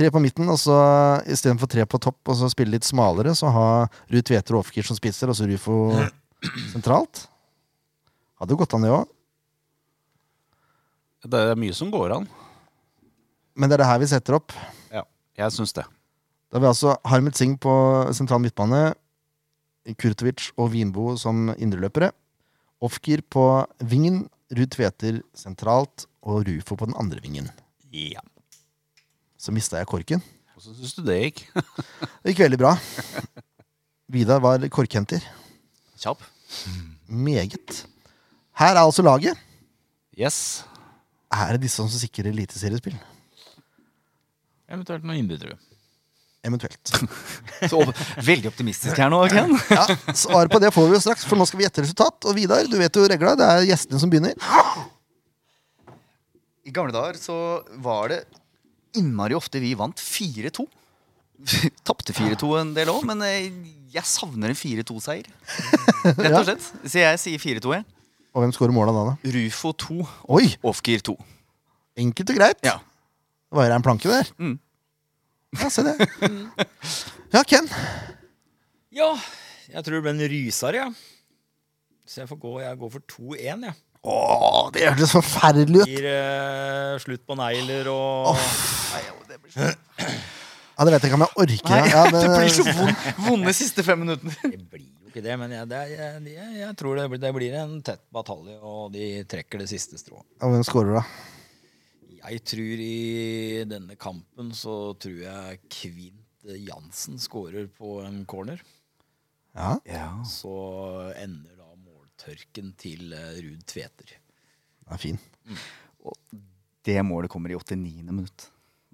Tre på midten, og så istedenfor tre på topp, og så spille litt smalere, så ha Ruud Tveter og Ofkir som spisser, og så Rufo sentralt. Hadde jo gått an, det òg. Det er mye som går an. Men det er det her vi setter opp. Ja, jeg syns det. Da har vi altså Harmet Singh på sentral midtbane, Kurtovic og Vinbo som indreløpere, Ofkir på vingen, Ruud Tveter sentralt og Rufo på den andre vingen. Ja. Så mista jeg korken. Hvordan syns du det gikk? Det gikk veldig bra. Vidar var korkhenter. kjapp. Meget. Her er altså laget. Yes. Er det disse som sikrer eliteseriespill? Eventuelt noen innbyttere. Eventuelt. Så veldig optimistisk her nå, Ken. Ja, Svar på det får vi jo straks, for nå skal vi gjette resultat. Og Vidar, du vet jo regla. Det er gjestene som begynner. I gamle dager så var det innmari ofte vi vant 4-2. Tapte 4-2 en del òg, men eh, jeg savner en 4-2-seier. Rett og slett. Så jeg sier 4-2, jeg. Og hvem scorer måla da, da? Rufo 2, Oi! Ofkir 2. Enkelt og greit. Ja. Det var jo en planke der. Mm. Ja, se det. Ja, Ken. Ja, jeg tror det ble en ryser, jeg. Så jeg, får gå, jeg går for 2-1, jeg. Å, det hørtes forferdelig ut. Gir eh, slutt på negler og Ja, det vet jeg ikke om jeg orker. Nei, ja, det men- blir så vond, vonde siste fem minuttene. Det blir jo ikke det, men jeg, det, er- jeg, jeg, jeg tror det blir, det blir en tett batalje, og de trekker det siste strået. Ja, Hvem scorer, da? Jeg tror i denne kampen så tror jeg Kvint Jansen skårer på en corner. Ja. Så ender da måltørken til eh, Ruud Tveter. Den er fin. Det målet kommer i 89. minutt.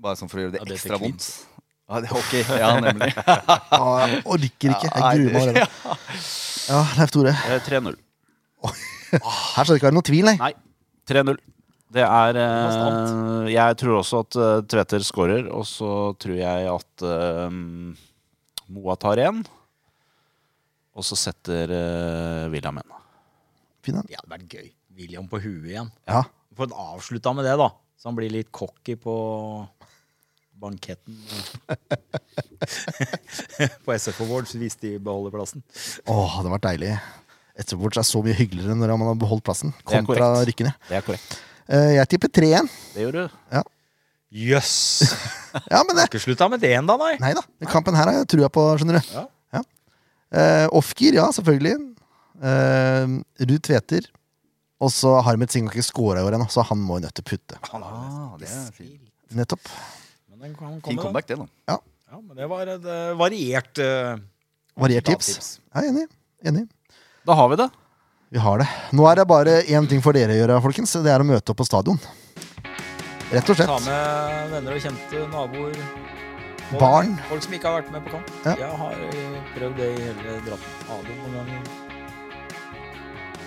Bare sånn for å gjøre det Ja, det er ekstra Kvint. vondt. Ja, det er hockey. Ja, nemlig. Ah, jeg orker ikke. Jeg gruer meg allerede. Ja. Ja, Leif Tore. Eh, 3-0. Her skal det ikke være noe tvil, nei. Nei, 3-0. Det er Bastant. eh, Jeg tror også at eh, Tveter scorer, og så tror jeg at eh, Moa tar én. Og så setter eh, William en. Fin, den. Det hadde vært gøy. William på huet igjen. Ja. Få avslutta med det, da. Så han blir litt cocky på banketten. på SF Awards hvis de beholder plassen. Åh, det hadde vært deilig. Etterpå er så mye hyggeligere når man har beholdt plassen. Det er Kontra korrekt. rykkene. Eh, Det er korrekt. Jeg tipper 3-1. Det gjør du. Jøss! Yes. Ja, men det Ikke slutta med det ennå, nei. Nei da. Den kampen her har jeg trua på, skjønner du. Ja. Ja. Eh, Off-gear, ja, selvfølgelig. Eh, Ruud Tveter. Og så har Harmet Singh har ikke scora i år ennå, så han må jo nødt til å putte. Han har jo Ah, nesten det ikke er spilt. Nettopp. Men den kan Fin komme. da. comeback, det, da. Ja, men det var et eh, variert eh, Variert tips. tips. Ja, enig. enig. Da har vi det. Vi har det. Nå er det bare én ting for dere å gjøre, folkens. Det er å møte opp på stadion. Rett og Ta slett. med venner og kjente, naboer. folk- Barn. Folk som ikke har vært med på kamp. Ja. Jeg har eh, prøvd det i hele Drappen-adioen noen ganger.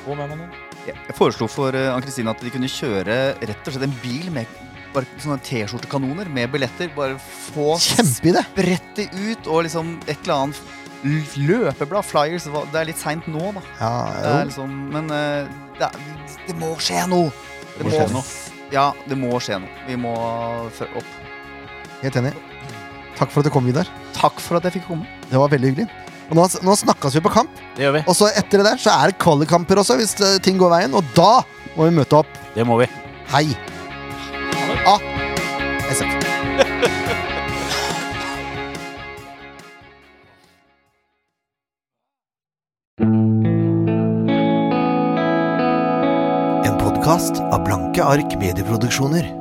Få med meg noen. Jeg jeg foreslo for eh, Ann-Kristin at de kunne kjøre rett og slett en bil med bare sånne T-skjortekanoner med billetter. Bare få Kjempeidé! brette ut og liksom et eller annet l- løpeblad, flyers. hva- Det er litt seint nå, da. Ja, Det er jo. liksom, men eh, det, er, det må skje noe! Det må skje Ja, det må skje noe. Vi må følge opp. Helt enig. Takk for at du kom, Vidar. Takk for at jeg fikk komme. Det var veldig hyggelig. Og nå, nå snakkes vi på kamp, Det gjør vi. og så etter det der så er det kvalikkamper også, hvis eh, ting går veien. Og da må vi møte opp. Det må vi. Hei! Ah. A. SF. En podkast av Blanke ark medieproduksjoner.